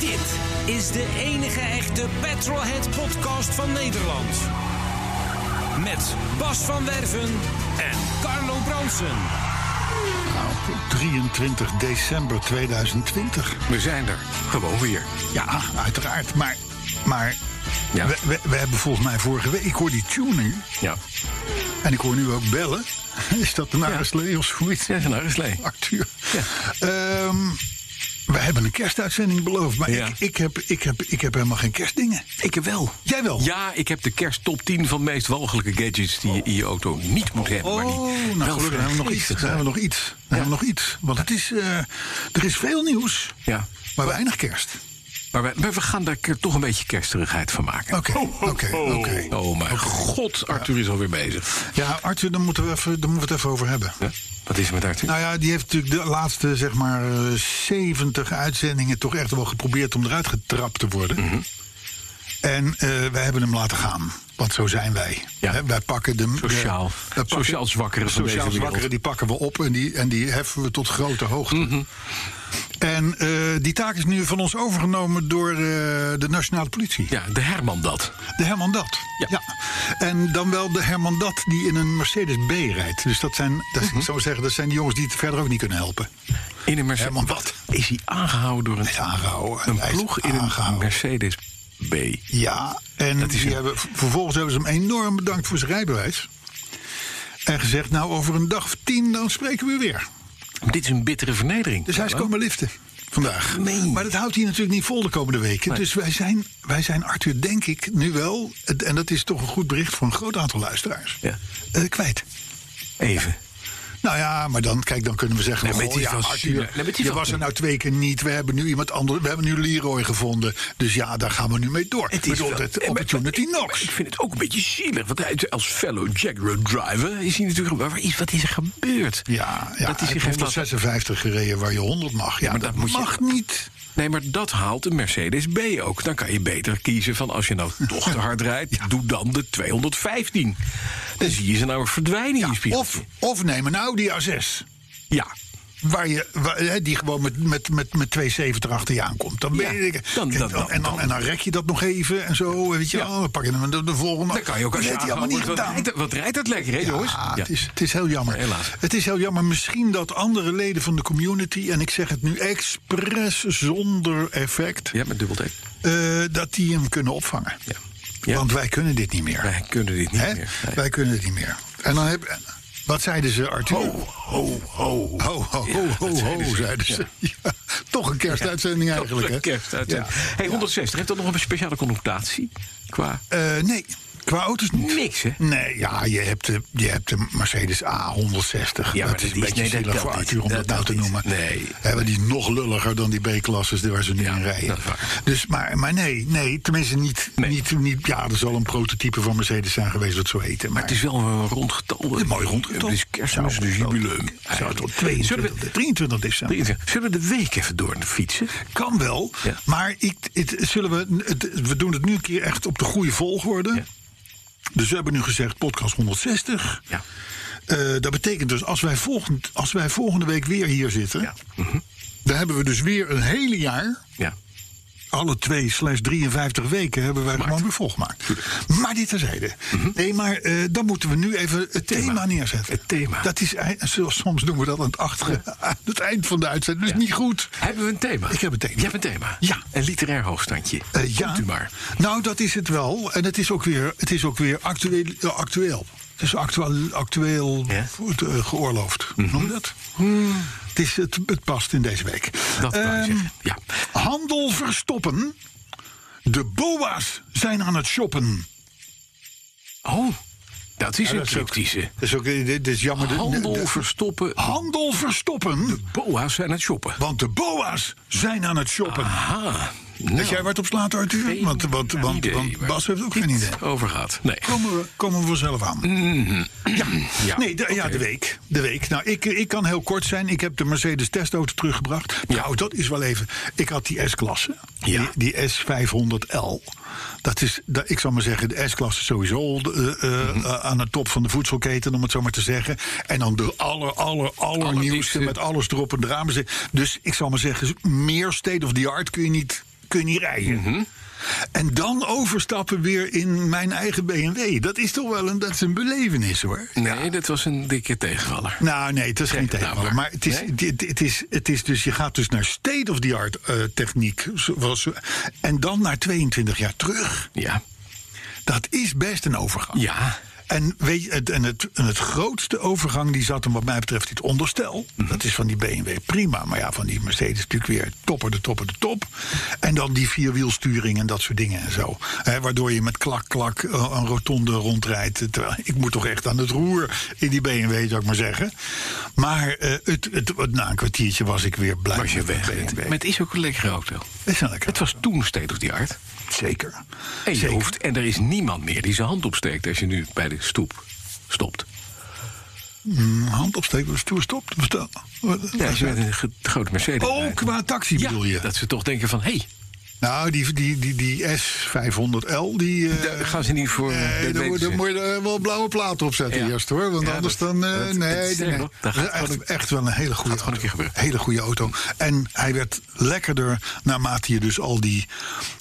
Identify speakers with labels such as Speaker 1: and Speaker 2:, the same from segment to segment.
Speaker 1: Dit is de enige echte Petrolhead podcast van Nederland. Met Bas van Werven en Carlo Bronsen.
Speaker 2: Op 23 december 2020.
Speaker 3: We zijn er. Gewoon weer.
Speaker 2: Ja, uiteraard. Maar, maar
Speaker 3: Ja.
Speaker 2: we, we, we hebben volgens mij vorige week... Ik hoor die tune nu.
Speaker 3: Ja.
Speaker 2: En ik hoor nu ook bellen. Is dat de Nareslee of zoiets?
Speaker 3: Ja, is een Nareslee.
Speaker 2: Arthur. Ehm, we hebben een kerstuitzending beloofd. Maar
Speaker 3: Ja.
Speaker 2: ik, ik, heb, ik, heb, ik heb helemaal geen kerstdingen.
Speaker 3: Ik wel.
Speaker 2: Jij wel?
Speaker 3: Ja, ik heb de kerst top 10 van de meest walgelijke gadgets die je in je auto niet moet hebben. maar die
Speaker 2: Oh, nou
Speaker 3: wel
Speaker 2: gelukkig hebben we nog iets.
Speaker 3: vergeestig
Speaker 2: Hebben we nog iets. Hebben we nog iets. Want het is, eh, er is veel nieuws,
Speaker 3: Ja.
Speaker 2: maar weinig kerst.
Speaker 3: Maar we, maar we gaan daar keer toch een beetje kersterigheid van maken.
Speaker 2: Oké, oké, oké.
Speaker 3: Oh mijn god, Arthur is alweer bezig.
Speaker 2: Ja, Arthur, daar moeten, we even, daar moeten we het even over hebben.
Speaker 3: Ja? Wat is er met Arthur?
Speaker 2: Nou ja, die heeft natuurlijk de laatste, zeg maar, eh, 70 uitzendingen toch echt wel geprobeerd om eruit getrapt te worden.
Speaker 3: Mhm.
Speaker 2: En eh, wij hebben hem laten gaan. Want zo zijn wij.
Speaker 3: Ja.
Speaker 2: Hè, wij pakken de. de-
Speaker 3: Sociaal.
Speaker 2: wij pakken-
Speaker 3: Sociaal zwakkeren van
Speaker 2: sociaal
Speaker 3: deze wereld.
Speaker 2: zwakkeren, die pakken we op en die, en die heffen we tot grote hoogte.
Speaker 3: Mhm.
Speaker 2: En eh, die taak is nu van ons overgenomen door eh, de Nationale Politie.
Speaker 3: Ja, de Herman dat.
Speaker 2: De Herman Dat.
Speaker 3: Ja.
Speaker 2: En dan wel de Herman Dat die in een Mercedes B rijdt. Dus dat zijn, dat,
Speaker 3: Mhm.
Speaker 2: ik zou zeggen, dat zijn die jongens die het verder ook niet kunnen helpen.
Speaker 3: In een Mercedes.
Speaker 2: Herman Dat.
Speaker 3: Is hij aangehouden door een,
Speaker 2: Hij is aangehouden.
Speaker 3: een
Speaker 2: Hij is
Speaker 3: ploeg in een
Speaker 2: aangehouden.
Speaker 3: Mercedes B?
Speaker 2: Ja, en
Speaker 3: Dat is
Speaker 2: die
Speaker 3: een-
Speaker 2: hebben, vervolgens hebben ze hem enorm bedankt voor zijn rijbewijs. En gezegd, nou over een dag of tien dan spreken we weer.
Speaker 3: Dit is een bittere vernedering.
Speaker 2: Dus hij is
Speaker 3: Carlo.
Speaker 2: komen liften vandaag.
Speaker 3: Nee.
Speaker 2: Maar dat houdt hij natuurlijk niet vol de komende weken.
Speaker 3: Nee.
Speaker 2: Dus wij zijn, wij zijn Arthur, denk ik, nu wel... het- en dat is toch een goed bericht voor een groot aantal luisteraars...
Speaker 3: Ja.
Speaker 2: eh, kwijt.
Speaker 3: Even.
Speaker 2: Nou ja, maar dan, kijk, dan kunnen we zeggen...
Speaker 3: Nee, maar
Speaker 2: goh,
Speaker 3: het is
Speaker 2: ja,
Speaker 3: wel
Speaker 2: Arthur,
Speaker 3: zuur. Nee, maar het
Speaker 2: je
Speaker 3: is wel-
Speaker 2: was er nou twee keer niet. We hebben nu iemand anders... We hebben nu Leroy gevonden. Dus ja, daar gaan we nu mee door.
Speaker 3: Het is
Speaker 2: Bedoel,
Speaker 3: wel-
Speaker 2: het
Speaker 3: eh, maar-
Speaker 2: opportunity
Speaker 3: maar- maar
Speaker 2: knocks.
Speaker 3: Ik vind het ook een beetje zielig. Want hij, als fellow Jaguar driver is hij natuurlijk... Maar waar is- wat is er gebeurd?
Speaker 2: Ja, ja
Speaker 3: dat hij
Speaker 2: hij
Speaker 3: zich
Speaker 2: heeft
Speaker 3: heeft laten-
Speaker 2: 156 gereden waar je 100 mag. Ja,
Speaker 3: maar
Speaker 2: dat,
Speaker 3: dat moet je-
Speaker 2: mag niet.
Speaker 3: Nee, maar dat haalt een Mercedes B ook. Dan kan je beter kiezen van als je nou toch te hard rijdt... doe dan de 215. Dan zie je ze nou verdwijnen in je spiegeltje.
Speaker 2: Of, of neem een Audi A6.
Speaker 3: Ja,
Speaker 2: Waar je, waar- hè, die gewoon met, met, met, met 270 achter je aankomt. Dan ben
Speaker 3: Ja,
Speaker 2: je,
Speaker 3: dan-
Speaker 2: kijk,
Speaker 3: dan- dan-
Speaker 2: en, dan, en dan rek je dat nog even en zo. Weet je,
Speaker 3: Ja.
Speaker 2: wel. dan pak je hem de, de volgende.
Speaker 3: dan kan je ook...
Speaker 2: dat
Speaker 3: Als je
Speaker 2: heeft hij allemaal niet
Speaker 3: aangehouden
Speaker 2: gedaan.
Speaker 3: wordt, wat, wat rijdt dat lekker, hè,
Speaker 2: Ja,
Speaker 3: jongens?
Speaker 2: Het, is, het is heel jammer.
Speaker 3: Helaas.
Speaker 2: Het is heel jammer. Misschien dat andere leden van de community, en ik zeg het nu expres zonder effect,
Speaker 3: ja met dubbel T.
Speaker 2: eh, dat die hem kunnen opvangen.
Speaker 3: Ja. Ja.
Speaker 2: Want wij kunnen dit niet meer.
Speaker 3: Wij kunnen dit niet
Speaker 2: Hè?
Speaker 3: meer. Nee.
Speaker 2: Wij kunnen het niet meer. En dan heb, wat zeiden ze, Arthur? Ho,
Speaker 3: Ho, ho.
Speaker 2: ho, ho,
Speaker 3: Ja,
Speaker 2: ho,
Speaker 3: dat
Speaker 2: ho,
Speaker 3: zeiden ze.
Speaker 2: zeiden ze. Ja, toch een kerstuitzending eigenlijk, hè?
Speaker 3: Kerstuitzending.
Speaker 2: Ja.
Speaker 3: Hey, 160, heeft dat nog een speciale connotatie? Qua...
Speaker 2: Eh, nee, qua auto's niet.
Speaker 3: Niks, hè?
Speaker 2: Nee, ja, je hebt de, je hebt de Mercedes A160.
Speaker 3: Ja, maar
Speaker 2: dat is
Speaker 3: dat
Speaker 2: een beetje
Speaker 3: is- nee, dat
Speaker 2: zielig
Speaker 3: telt
Speaker 2: voor
Speaker 3: niet.
Speaker 2: Arthur om dat,
Speaker 3: Dat
Speaker 2: nou te
Speaker 3: telt
Speaker 2: noemen.
Speaker 3: niet. Nee.
Speaker 2: Hebben die nog lulliger dan die B-klasses waar ze nu
Speaker 3: Ja,
Speaker 2: in rijden.
Speaker 3: dat is waar.
Speaker 2: Dus, maar, maar nee, nee, tenminste niet,
Speaker 3: Nee.
Speaker 2: niet, niet... Ja, er zal een prototype van Mercedes zijn geweest wat zo heette. Maar,
Speaker 3: Het is wel een rond getal.
Speaker 2: een mooi rond getal.
Speaker 3: Het is kerstmis,
Speaker 2: Zou-
Speaker 3: dus jubileum.
Speaker 2: Zou tot
Speaker 3: Zullen
Speaker 2: 22,
Speaker 3: we,
Speaker 2: 23 december.
Speaker 3: zullen we de week even door fietsen?
Speaker 2: Kan wel,
Speaker 3: Ja.
Speaker 2: maar ik, het, zullen we, het- we doen het nu een keer echt op de goede volgorde.
Speaker 3: Ja.
Speaker 2: Dus we hebben nu gezegd podcast 160.
Speaker 3: Ja.
Speaker 2: Eh, dat betekent dus als wij, volgend, als wij volgende week weer hier zitten...
Speaker 3: Ja. Mhm.
Speaker 2: dan hebben we dus weer een hele jaar...
Speaker 3: Ja.
Speaker 2: alle twee slash 53 weken hebben wij gewoon weer volgemaakt. Maar dit terzijde. Nee, maar eh, dan moeten we nu even het thema, neerzetten.
Speaker 3: Mhm. Het thema.
Speaker 2: Dat is, ei- zoals soms doen we dat aan het, achter, aan het eind van de uitzending. Dat is niet goed.
Speaker 3: Hebben we een thema?
Speaker 2: Ik heb een thema.
Speaker 3: Je hebt een thema?
Speaker 2: Ja.
Speaker 3: Een literair hoogstandje.
Speaker 2: Eh, ja.
Speaker 3: Komt u maar.
Speaker 2: Nou, dat is het wel. En het is ook weer, het is ook weer actueel, eh, actueel. Het is actueel, actueel
Speaker 3: Ja. Mhm. Hmm.
Speaker 2: voor- eh, geoorloofd. Noem je dat? Het, is, het, het past in deze week.
Speaker 3: Dat wou je
Speaker 2: Ehm,
Speaker 3: zeggen. Ja.
Speaker 2: Handel verstoppen. De boa's zijn aan het shoppen.
Speaker 3: Oh, Dat is
Speaker 2: Ja,
Speaker 3: een
Speaker 2: dat is ook-
Speaker 3: cryptische.
Speaker 2: Dat is ook dit is jammer. de- de-
Speaker 3: Handel
Speaker 2: de-
Speaker 3: verstoppen.
Speaker 2: handel verstoppen.
Speaker 3: Boa's zijn aan het shoppen. Ah,
Speaker 2: Want de boa's zijn aan het shoppen.
Speaker 3: Aha.
Speaker 2: Weet jij waar het op slaat, Arthur?
Speaker 3: Geen
Speaker 2: want, want, want,
Speaker 3: idee
Speaker 2: want
Speaker 3: waar
Speaker 2: Bas heeft ook geen idee.
Speaker 3: over gaat. Nee.
Speaker 2: Komen we, komen we vanzelf aan.
Speaker 3: Ja.
Speaker 2: Nee, de, ja, de week. De week. Nou, ik, ik kan heel kort zijn. Ik heb de Mercedes testauto teruggebracht. Nou, dat is wel even. Ik had die S-klasse.
Speaker 3: Ja.
Speaker 2: Die, die S500L. Dat is, dat, ik zal maar zeggen, de S-klasse is sowieso eh, eh,
Speaker 3: Mhm.
Speaker 2: eh, aan de top van de voedselketen, om het zo maar te zeggen. En dan de aller, aller,
Speaker 3: Allerdiepste.
Speaker 2: allernieuwste met alles erop en eraan. Dus ik zal maar zeggen, meer state of the art kun je niet, kun je niet rijden.
Speaker 3: Mhm.
Speaker 2: En dan overstappen weer in mijn eigen BMW. Dat is toch wel een, dat is een belevenis hoor.
Speaker 3: Nee, dat was een dikke tegenvaller.
Speaker 2: Nou, nee, het is geen tegenvaller.
Speaker 3: namelijk.
Speaker 2: Maar het is,
Speaker 3: Nee?
Speaker 2: dit- dit- het, is, het is dus, je gaat dus naar state-of-the-art eh, techniek. Zoals, en dan naar 22 jaar terug.
Speaker 3: Ja.
Speaker 2: Dat is best een overgang.
Speaker 3: Ja.
Speaker 2: En, weet je, het, en, het, en het grootste overgang die zat hem wat mij betreft dit onderstel.
Speaker 3: Mhm.
Speaker 2: Dat is van die BMW prima. Maar ja, van die Mercedes natuurlijk weer topper de topper de top. En dan die vierwielsturing en dat soort dingen en zo. Hè, waardoor je met klak klak eh, een rotonde rondrijdt. Terwijl ik moet toch echt aan het roer in die BMW, zou ik maar zeggen. Maar eh, het, het, na een kwartiertje was ik weer blij
Speaker 3: Was je
Speaker 2: met de
Speaker 3: weg.
Speaker 2: BMW.
Speaker 3: Maar het is ook een lekkere auto.
Speaker 2: Het is een lekker
Speaker 3: Het was toen state of the art.
Speaker 2: zeker.
Speaker 3: En, je
Speaker 2: Zeker.
Speaker 3: hoeft, en er is niemand meer die zijn hand opsteekt als je nu bij de stoep stopt.
Speaker 2: Hand opsteken, was toen stopt. Vertel.
Speaker 3: Ja, als je met een ge- grote Mercedes
Speaker 2: Oh,
Speaker 3: rijdt.
Speaker 2: qua taxi
Speaker 3: ja,
Speaker 2: bedoel je?
Speaker 3: dat ze toch denken van... hé, hey,
Speaker 2: Nou, die, die, die, die S500L, die... eh,
Speaker 3: daar gaan ze niet voor... eh, dat
Speaker 2: Nee, dan,
Speaker 3: weten
Speaker 2: moet- dan
Speaker 3: ze.
Speaker 2: moet je er wel blauwe platen op zetten
Speaker 3: Ja.
Speaker 2: eerst hoor. Want
Speaker 3: Ja,
Speaker 2: anders
Speaker 3: dat-
Speaker 2: dan. eh,
Speaker 3: dat- dat-
Speaker 2: nee,
Speaker 3: sterker
Speaker 2: nee.
Speaker 3: nog,
Speaker 2: Dat
Speaker 3: dat gaat
Speaker 2: is echt,
Speaker 3: gewoon een-
Speaker 2: echt wel een hele goede
Speaker 3: gewoon een
Speaker 2: auto.
Speaker 3: keer gebeuren.
Speaker 2: hele goede auto. En hij werd lekkerder naarmate je dus al die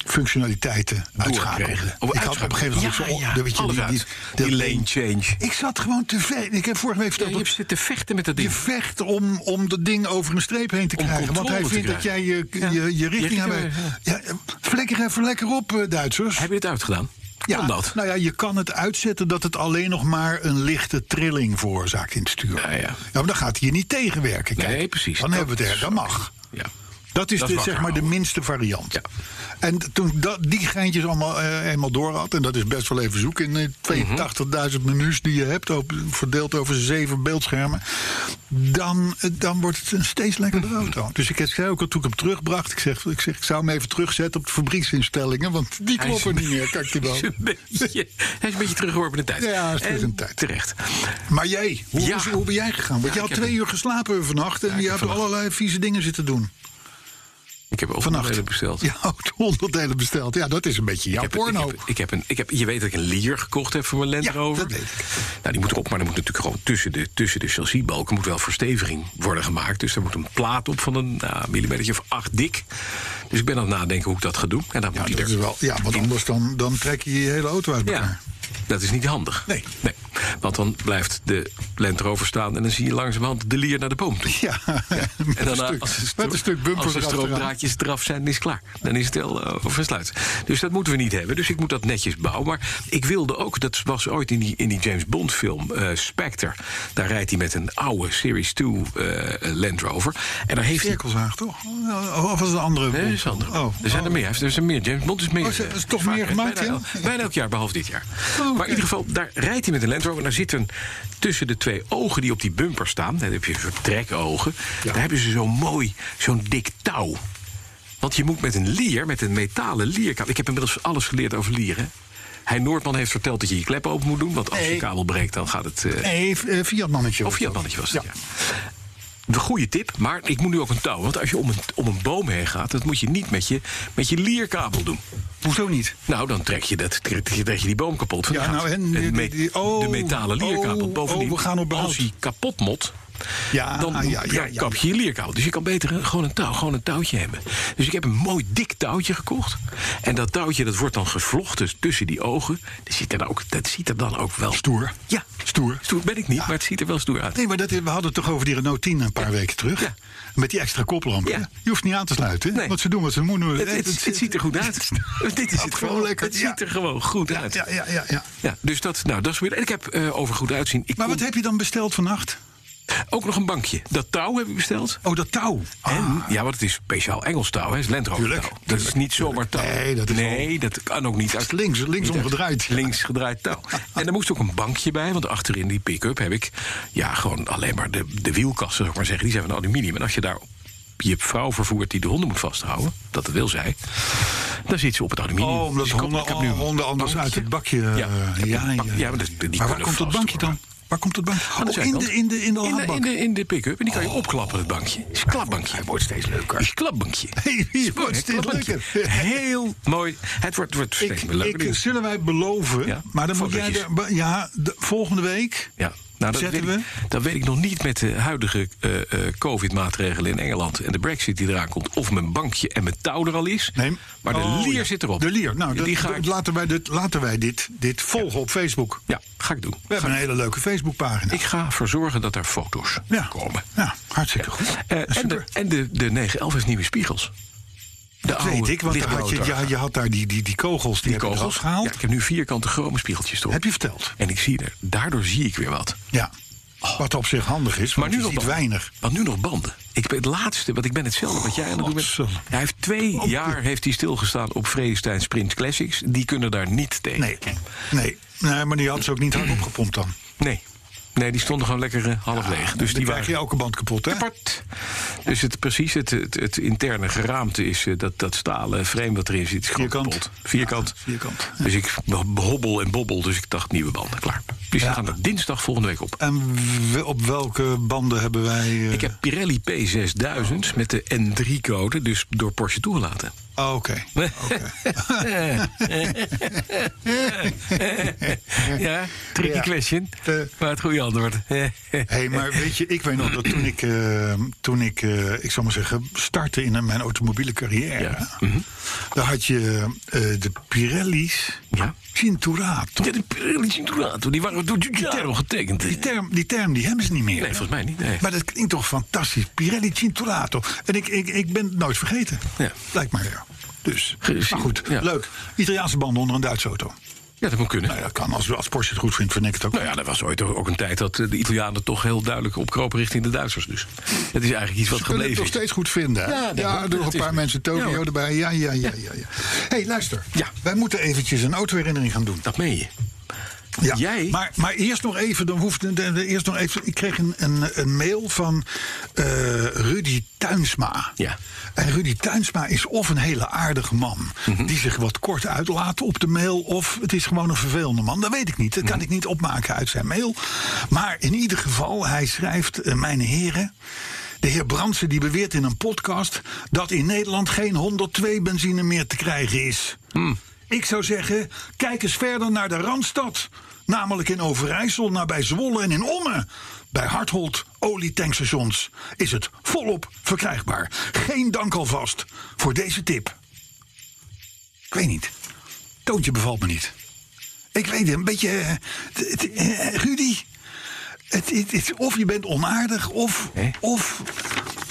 Speaker 2: functionaliteiten uitschakelde.
Speaker 3: Doorkregen. Oh,
Speaker 2: Ik had op een gegeven moment
Speaker 3: uitschakelen.
Speaker 2: ook zo.
Speaker 3: Ja,
Speaker 2: oh,
Speaker 3: ja,
Speaker 2: weet je,
Speaker 3: alles
Speaker 2: die,
Speaker 3: uit. Die lane change.
Speaker 2: Ik zat gewoon te ver. Ik heb vorige week
Speaker 3: Ja,
Speaker 2: verteld.
Speaker 3: je
Speaker 2: dat
Speaker 3: hebt zitten vechten met dat
Speaker 2: je
Speaker 3: ding.
Speaker 2: vecht om, om dat ding over een streep heen te
Speaker 3: Om
Speaker 2: krijgen. Want
Speaker 3: controle
Speaker 2: hij
Speaker 3: te
Speaker 2: vindt dat jij
Speaker 3: krijgen.
Speaker 2: je,
Speaker 3: Ja.
Speaker 2: je, je
Speaker 3: Je
Speaker 2: richting
Speaker 3: richting
Speaker 2: aan
Speaker 3: weer, ja.
Speaker 2: Ja, flikker even lekker op, eh, Duitsers.
Speaker 3: Heb je het uitgedaan?
Speaker 2: Ja,
Speaker 3: Kan dat?
Speaker 2: Nou ja, je kan het uitzetten dat het alleen nog maar een lichte trilling veroorzaakt in het stuur.
Speaker 3: Ja, ja.
Speaker 2: maar dan gaat hij je niet tegenwerken. Kijk,
Speaker 3: Nee, precies.
Speaker 2: Dan
Speaker 3: Dat
Speaker 2: hebben we het er,
Speaker 3: is-
Speaker 2: dat mag.
Speaker 3: Ja.
Speaker 2: Dat is,
Speaker 3: Dat
Speaker 2: de,
Speaker 3: mag
Speaker 2: zeg
Speaker 3: er
Speaker 2: maar de
Speaker 3: houden.
Speaker 2: minste variant.
Speaker 3: Ja.
Speaker 2: En toen dat, die geintjes allemaal eh, eenmaal door had, en dat is best wel even zoek in eh, 82.000
Speaker 3: Mhm.
Speaker 2: menus die je hebt, op- verdeeld over zeven beeldschermen, dan, eh, dan wordt het een steeds
Speaker 3: Mhm.
Speaker 2: lekkerder auto. Dus ik zei ook al toen ik hem terugbracht, ik zeg, ik zeg ik zou hem even terugzetten op de fabrieksinstellingen, want die
Speaker 3: Hij is
Speaker 2: kloppen
Speaker 3: een
Speaker 2: niet meer, kijk je wel.
Speaker 3: Hij is een beetje, hij is een beetje teruggeworpen in de tijd.
Speaker 2: Ja, hij is terug in de
Speaker 3: En
Speaker 2: tijd.
Speaker 3: Terecht.
Speaker 2: Maar jij, hoe,
Speaker 3: Ja.
Speaker 2: is- hoe ben jij gegaan? Want
Speaker 3: Ja,
Speaker 2: je had
Speaker 3: ik heb
Speaker 2: twee
Speaker 3: een-
Speaker 2: uur geslapen vannacht en
Speaker 3: ik
Speaker 2: je
Speaker 3: heb
Speaker 2: had
Speaker 3: vannacht-
Speaker 2: allerlei vieze dingen zitten doen.
Speaker 3: Ik heb ook
Speaker 2: Vannacht.
Speaker 3: onderdelen besteld.
Speaker 2: Ja, ook onderdelen besteld. Ja, dat is een beetje jouw
Speaker 3: Ik heb-
Speaker 2: porno.
Speaker 3: Ik heb, ik heb een, ik heb, je weet dat ik een Lier gekocht heb voor mijn Land
Speaker 2: Ja,
Speaker 3: Rover.
Speaker 2: dat weet ik.
Speaker 3: Nou, die moet erop, maar er moet natuurlijk gewoon tussen de, tussen de chassisbalken moet wel versteviging worden gemaakt. Dus er moet een plaat op van een nou, millimeter of acht dik. Dus ik ben aan het nadenken hoe ik dat ga doen. En dan
Speaker 2: Ja,
Speaker 3: moet die
Speaker 2: dat
Speaker 3: er
Speaker 2: is wel, ja, want anders dan, dan trek je je hele auto uit elkaar.
Speaker 3: Ja, dat is niet handig.
Speaker 2: Nee.
Speaker 3: Want dan blijft de Land Rover staan en dan zie je langzamerhand de lier naar de boom toe.
Speaker 2: Ja, met,
Speaker 3: En daarna,
Speaker 2: een stuk,
Speaker 3: als, de stro-
Speaker 2: met een stuk
Speaker 3: als
Speaker 2: bumper
Speaker 3: de
Speaker 2: erachteraan.
Speaker 3: stroopdraadjes eraf zijn, is het klaar. Dan is het heel eh, over en sluit. Dus dat moeten we niet hebben. Dus ik moet dat netjes bouwen. Maar ik wilde ook, dat was ooit in die, in die James Bond film eh, Spectre. Daar rijdt hij met een oude Series 2 eh, Land Rover. En daar heeft hij...
Speaker 2: Cirkelzaag, toch? Oh, Of was het een andere?
Speaker 3: Nee, dat is een andere. er zijn er meer. Hij heeft- Er zijn meer. James Bond is meer.
Speaker 2: Oh, ze-
Speaker 3: eh,
Speaker 2: is toch
Speaker 3: vaak,
Speaker 2: meer
Speaker 3: hè?
Speaker 2: gemaakt,
Speaker 3: bijna,
Speaker 2: ja? Oh,
Speaker 3: el- bijna elk jaar, behalve dit jaar.
Speaker 2: oké.
Speaker 3: Maar in ieder geval, daar rijdt hij met een Land Rover. En daar zitten tussen de twee ogen die op die bumper staan... daar heb je een soort trekogen... daar hebben ze zo'n mooi, zo'n dik touw. Want je moet met een lier, met een metalen lierkabel... Ik heb inmiddels alles geleerd over lieren. Hij Noordman heeft verteld dat je je klep open moet doen... want als je
Speaker 2: Nee.
Speaker 3: kabel breekt, dan gaat het... eh,
Speaker 2: Nee, eh, Fiat-mannetje.
Speaker 3: of
Speaker 2: was dat.
Speaker 3: Fiatmannetje was het, ja. De goede tip, maar ik moet nu ook een touw. Want als je om een, om een boom heen gaat, dat moet je niet met je, met je lierkabel doen.
Speaker 2: Hoezo niet?
Speaker 3: Nou, dan trek je, dat, trek, je- trek je die boom kapot. van de
Speaker 2: Ja,
Speaker 3: grond.
Speaker 2: nou, en die-
Speaker 3: Het me-
Speaker 2: die- die- oh,
Speaker 3: de metalen lierkabel.
Speaker 2: oh,
Speaker 3: Bovendien,
Speaker 2: oh, we gaan op behoud.
Speaker 3: als hij kapot mot,
Speaker 2: Ja, ah,
Speaker 3: dan
Speaker 2: ja, ja, ja,
Speaker 3: kap je je lierkabel. Dus je kan beter een- gewoon een, touw, gewoon een touwtje hebben. Dus ik heb een mooi dik touwtje gekocht. En dat touwtje dat wordt dan gevlochten tussen die ogen. Dat ziet er, dan ook, dat ziet er dan ook wel...
Speaker 2: Stoer.
Speaker 3: Ja,
Speaker 2: Stoer.
Speaker 3: stoer ben ik niet, maar het ziet er wel stoer uit.
Speaker 2: Nee, maar dat, we hadden het toch over die Renault 10 een paar weken terug.
Speaker 3: Ja.
Speaker 2: Met die extra koplamp.
Speaker 3: Ja.
Speaker 2: Je hoeft niet aan te sluiten.
Speaker 3: Nee.
Speaker 2: Want ze doen wat ze moeten.
Speaker 3: Het, het, het ziet er goed uit.
Speaker 2: het
Speaker 3: Dit is het
Speaker 2: gewoon
Speaker 3: gewoon
Speaker 2: lekker,
Speaker 3: Het
Speaker 2: ja.
Speaker 3: ziet er gewoon goed uit.
Speaker 2: Ja,
Speaker 3: Ja,
Speaker 2: ja, ja, ja.
Speaker 3: dus dat, nou, dat is weer. En ik heb eh, over goed uitzien. Ik
Speaker 2: Maar wat
Speaker 3: kon-
Speaker 2: heb je dan besteld vannacht?
Speaker 3: Ook nog een bankje. Dat touw heb ik besteld.
Speaker 2: Oh, dat touw.
Speaker 3: En, ja, want het is speciaal Engels touw, hè? Het is Land Rover
Speaker 2: Ah. Tuurlijk,
Speaker 3: touw. Dat
Speaker 2: tuurlijk,
Speaker 3: is niet zomaar touw.
Speaker 2: tuurlijk. Nee, dat is
Speaker 3: nee dat kan ook niet. Uit,
Speaker 2: Links- linksom
Speaker 3: niet uit-
Speaker 2: gedraaid, ja.
Speaker 3: Links gedraaid touw. en er moest ook een bankje bij, want achterin die pick-up heb ik... ja, gewoon alleen maar de, de wielkasten, zou ik maar zeggen. Die zijn van aluminium. En als je daar je vrouw vervoert die de honden moet vasthouden... dat wil zij, dan zit ze op het aluminium.
Speaker 2: Oh, omdat
Speaker 3: Dus ik hoop-
Speaker 2: honden,
Speaker 3: ik heb nu een
Speaker 2: honden anders
Speaker 3: bankje.
Speaker 2: uit het bakje. eh,
Speaker 3: Ja, ik heb
Speaker 2: ja,
Speaker 3: een bak-
Speaker 2: ja,
Speaker 3: ja, maar dat- die
Speaker 2: maar waar
Speaker 3: kunnen
Speaker 2: komt dat
Speaker 3: vast,
Speaker 2: bankje dan?
Speaker 3: hoor.
Speaker 2: Waar komt dat bankje?
Speaker 3: Aan de
Speaker 2: Oh, in
Speaker 3: zijkant.
Speaker 2: de, in de, Oh. in de
Speaker 3: in de,
Speaker 2: laadbak.
Speaker 3: in de, in de pick-up. En die kan je opklappen, het bankje. Het is een klapbankje. Het wordt steeds leuker. Het is een klapbankje.
Speaker 2: Hey,
Speaker 3: Het is
Speaker 2: het
Speaker 3: gewoon
Speaker 2: wordt
Speaker 3: een
Speaker 2: steeds
Speaker 3: klapbankje.
Speaker 2: leuker.
Speaker 3: Heel mooi. Het wordt, wordt steeds
Speaker 2: Ik,
Speaker 3: meer leuker.
Speaker 2: ik, zullen wij beloven,
Speaker 3: Ja,
Speaker 2: maar dan moet jij...
Speaker 3: fotootjes.
Speaker 2: er- ba- ja, de, volgende week...
Speaker 3: ja. Nou, dat, weet
Speaker 2: zetten
Speaker 3: ik,
Speaker 2: we...
Speaker 3: dat weet ik nog niet met de huidige eh, eh, COVID-maatregelen in Engeland... en de brexit die eraan komt, of mijn bankje en mijn touw er al is.
Speaker 2: Nee,
Speaker 3: Maar de
Speaker 2: oh,
Speaker 3: lier
Speaker 2: ja.
Speaker 3: zit erop.
Speaker 2: De lier. Nou, dat-
Speaker 3: die ga ik,
Speaker 2: laten wij, dit, laten wij dit, dit volgen op Facebook.
Speaker 3: ja, ga ik doen.
Speaker 2: We hebben een hele leuke Facebookpagina.
Speaker 3: Ik ga ervoor zorgen dat er foto's
Speaker 2: ja.
Speaker 3: komen.
Speaker 2: Ja, hartstikke goed.
Speaker 3: Eh, en de,
Speaker 2: Super.
Speaker 3: en de, de 911 heeft nieuwe spiegels. De
Speaker 2: Dat weet ik, want daar had je,
Speaker 3: lichtblauwe
Speaker 2: ja, je had daar die, die, die kogels, die, hebben
Speaker 3: kogels.
Speaker 2: eraf gehaald.
Speaker 3: Ja, ik heb nu vierkante chrome spiegeltjes erop.
Speaker 2: Heb je verteld?
Speaker 3: En ik zie er, daardoor zie ik weer wat.
Speaker 2: Ja. Wat op zich handig is, maar
Speaker 3: Maar nu
Speaker 2: nu
Speaker 3: nog
Speaker 2: ziet
Speaker 3: banden.
Speaker 2: weinig.
Speaker 3: Want nu nog banden. Ik ben het laatste, want ik ben hetzelfde wat jij aan het doen bent.
Speaker 2: Godzalm.
Speaker 3: Hij heeft twee jaar heeft hij stilgestaan op Vredestein Sprint Classics. Die kunnen daar niet tegen.
Speaker 2: Nee. nee. Nee, maar die had ze ook niet hard opgepompt dan.
Speaker 3: Nee, nee die stonden gewoon lekker eh, half leeg. Dus
Speaker 2: dan
Speaker 3: die
Speaker 2: krijg je
Speaker 3: waren
Speaker 2: elke band kapot, hè?
Speaker 3: apart. Dus het, precies, het, het, het interne geraamte is eh, dat, dat stalen frame wat erin zit. Is gewoon
Speaker 2: Vierkant.
Speaker 3: kapot. Vierkant.
Speaker 2: Ja, vierkant.
Speaker 3: Dus ik hobbel en bobbel, dus ik dacht nieuwe banden, klaar. Dus die gaan er dinsdag volgende week op.
Speaker 2: En we- op welke banden hebben wij... eh,
Speaker 3: Ik heb Pirelli P6000 met de N3-code, dus door Porsche toegelaten.
Speaker 2: oh, Oké.
Speaker 3: ja, tricky
Speaker 2: Ja.
Speaker 3: question,
Speaker 2: Eh.
Speaker 3: maar het goede antwoord.
Speaker 2: Hé, hey, maar weet je, ik weet nog dat toen ik, eh, toen ik, eh, ik zal maar zeggen, startte in mijn automobiele carrière.
Speaker 3: Ja. Mhm.
Speaker 2: Daar had je eh, de Pirelli's
Speaker 3: Ja.
Speaker 2: Cinturato.
Speaker 3: Ja, de Pirelli toegelaten, die waren door Giugiaro getekend.
Speaker 2: Die term, die term die hebben ze niet meer.
Speaker 3: Nee, volgens mij niet, nee.
Speaker 2: Maar dat klinkt toch fantastisch. Pirelli Cinturato. En ik, ik, ik ben het nooit vergeten.
Speaker 3: Ja.
Speaker 2: Lijkt mij ja. Dus,
Speaker 3: Gezien,
Speaker 2: maar goed,
Speaker 3: ja.
Speaker 2: leuk. Italiaanse banden onder een Duitse auto.
Speaker 3: Ja, dat moet kunnen.
Speaker 2: Nou, dat kan. Als, als Porsche het goed vindt, vind ik het ook.
Speaker 3: Nou ja, er was ooit ook een tijd dat eh, de Italianen toch heel duidelijk opkropen richting de Duitsers. Dus het is eigenlijk iets wat
Speaker 2: Ze kunnen het
Speaker 3: gebleven
Speaker 2: nog
Speaker 3: is.
Speaker 2: steeds goed vinden. hè?
Speaker 3: Ja,
Speaker 2: Ja,
Speaker 3: dat ook.
Speaker 2: door
Speaker 3: Dat
Speaker 2: een
Speaker 3: is
Speaker 2: paar
Speaker 3: het.
Speaker 2: mensen Tokio
Speaker 3: Ja, hoor.
Speaker 2: erbij. Ja, ja, ja, ja. ja. hey, luister.
Speaker 3: Ja.
Speaker 2: Wij moeten eventjes een autoherinnering gaan doen.
Speaker 3: Dat meen je.
Speaker 2: Ja.
Speaker 3: Jij?
Speaker 2: Maar, maar eerst nog even, dan hoeft, de- de- de- eerst nog even. Ik kreeg een, een, een mail van eh, Rudy Tuinsma.
Speaker 3: Ja.
Speaker 2: En Rudy Tuinsma is of een hele aardige man
Speaker 3: Mhm.
Speaker 2: die zich wat kort uitlaat op de mail, of het is gewoon een vervelende man. Dat weet ik niet. Dat
Speaker 3: Mhm.
Speaker 2: kan ik niet opmaken uit zijn mail. Maar in ieder geval, hij schrijft: eh, Mijn heren. De heer Brandsen die beweert in een podcast dat in Nederland geen 102 benzine meer te krijgen is. Ik zou zeggen, kijk eens verder naar de Randstad. Namelijk in Overijssel, nabij Zwolle en in Ommen. Bij Hartholt olietankstations is het volop verkrijgbaar. Geen dank alvast voor deze tip. Ik weet niet. Toontje bevalt me niet. Ik weet het, een beetje... eh, het- het- eh, Rudy, het, het- het- of je bent onaardig, of...
Speaker 3: Nee.
Speaker 2: of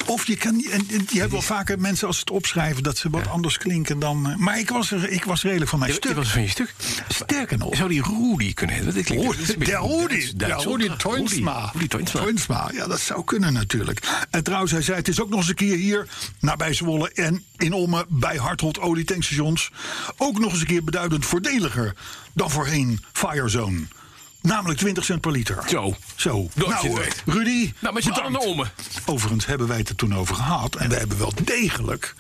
Speaker 2: of je kan niet. en- en Je hebt wel vaker mensen als ze het opschrijven dat ze wat anders klinken dan. eh, Maar ik was, er, ik was redelijk van mijn
Speaker 3: Je, je
Speaker 2: stuk.
Speaker 3: was van je stuk.
Speaker 2: Sterker nog.
Speaker 3: Zou die Rudy kunnen heten? Dat klinkt- dat is een beetje
Speaker 2: De Rudi,
Speaker 3: Duits-
Speaker 2: de
Speaker 3: Duits
Speaker 2: Rudi
Speaker 3: opdracht. Rudy.
Speaker 2: Toinsma.
Speaker 3: Rudy Toinsma.
Speaker 2: Toinsma, ja, dat zou kunnen natuurlijk. En trouwens, hij zei, het is ook nog eens een keer hier, nabij Zwolle en in Ommen, bij Harthold olietankstations, ook nog eens een keer beduidend voordeliger dan voorheen Firezone. Namelijk 20 cent per liter.
Speaker 3: Zo.
Speaker 2: Zo.
Speaker 3: Dat je
Speaker 2: nou,
Speaker 3: het
Speaker 2: eh,
Speaker 3: weet.
Speaker 2: Rudy.
Speaker 3: Nou, met z'n
Speaker 2: bedankt.
Speaker 3: allen naar Ommen.
Speaker 2: Overigens hebben wij het er toen over gehad. En we hebben wel degelijk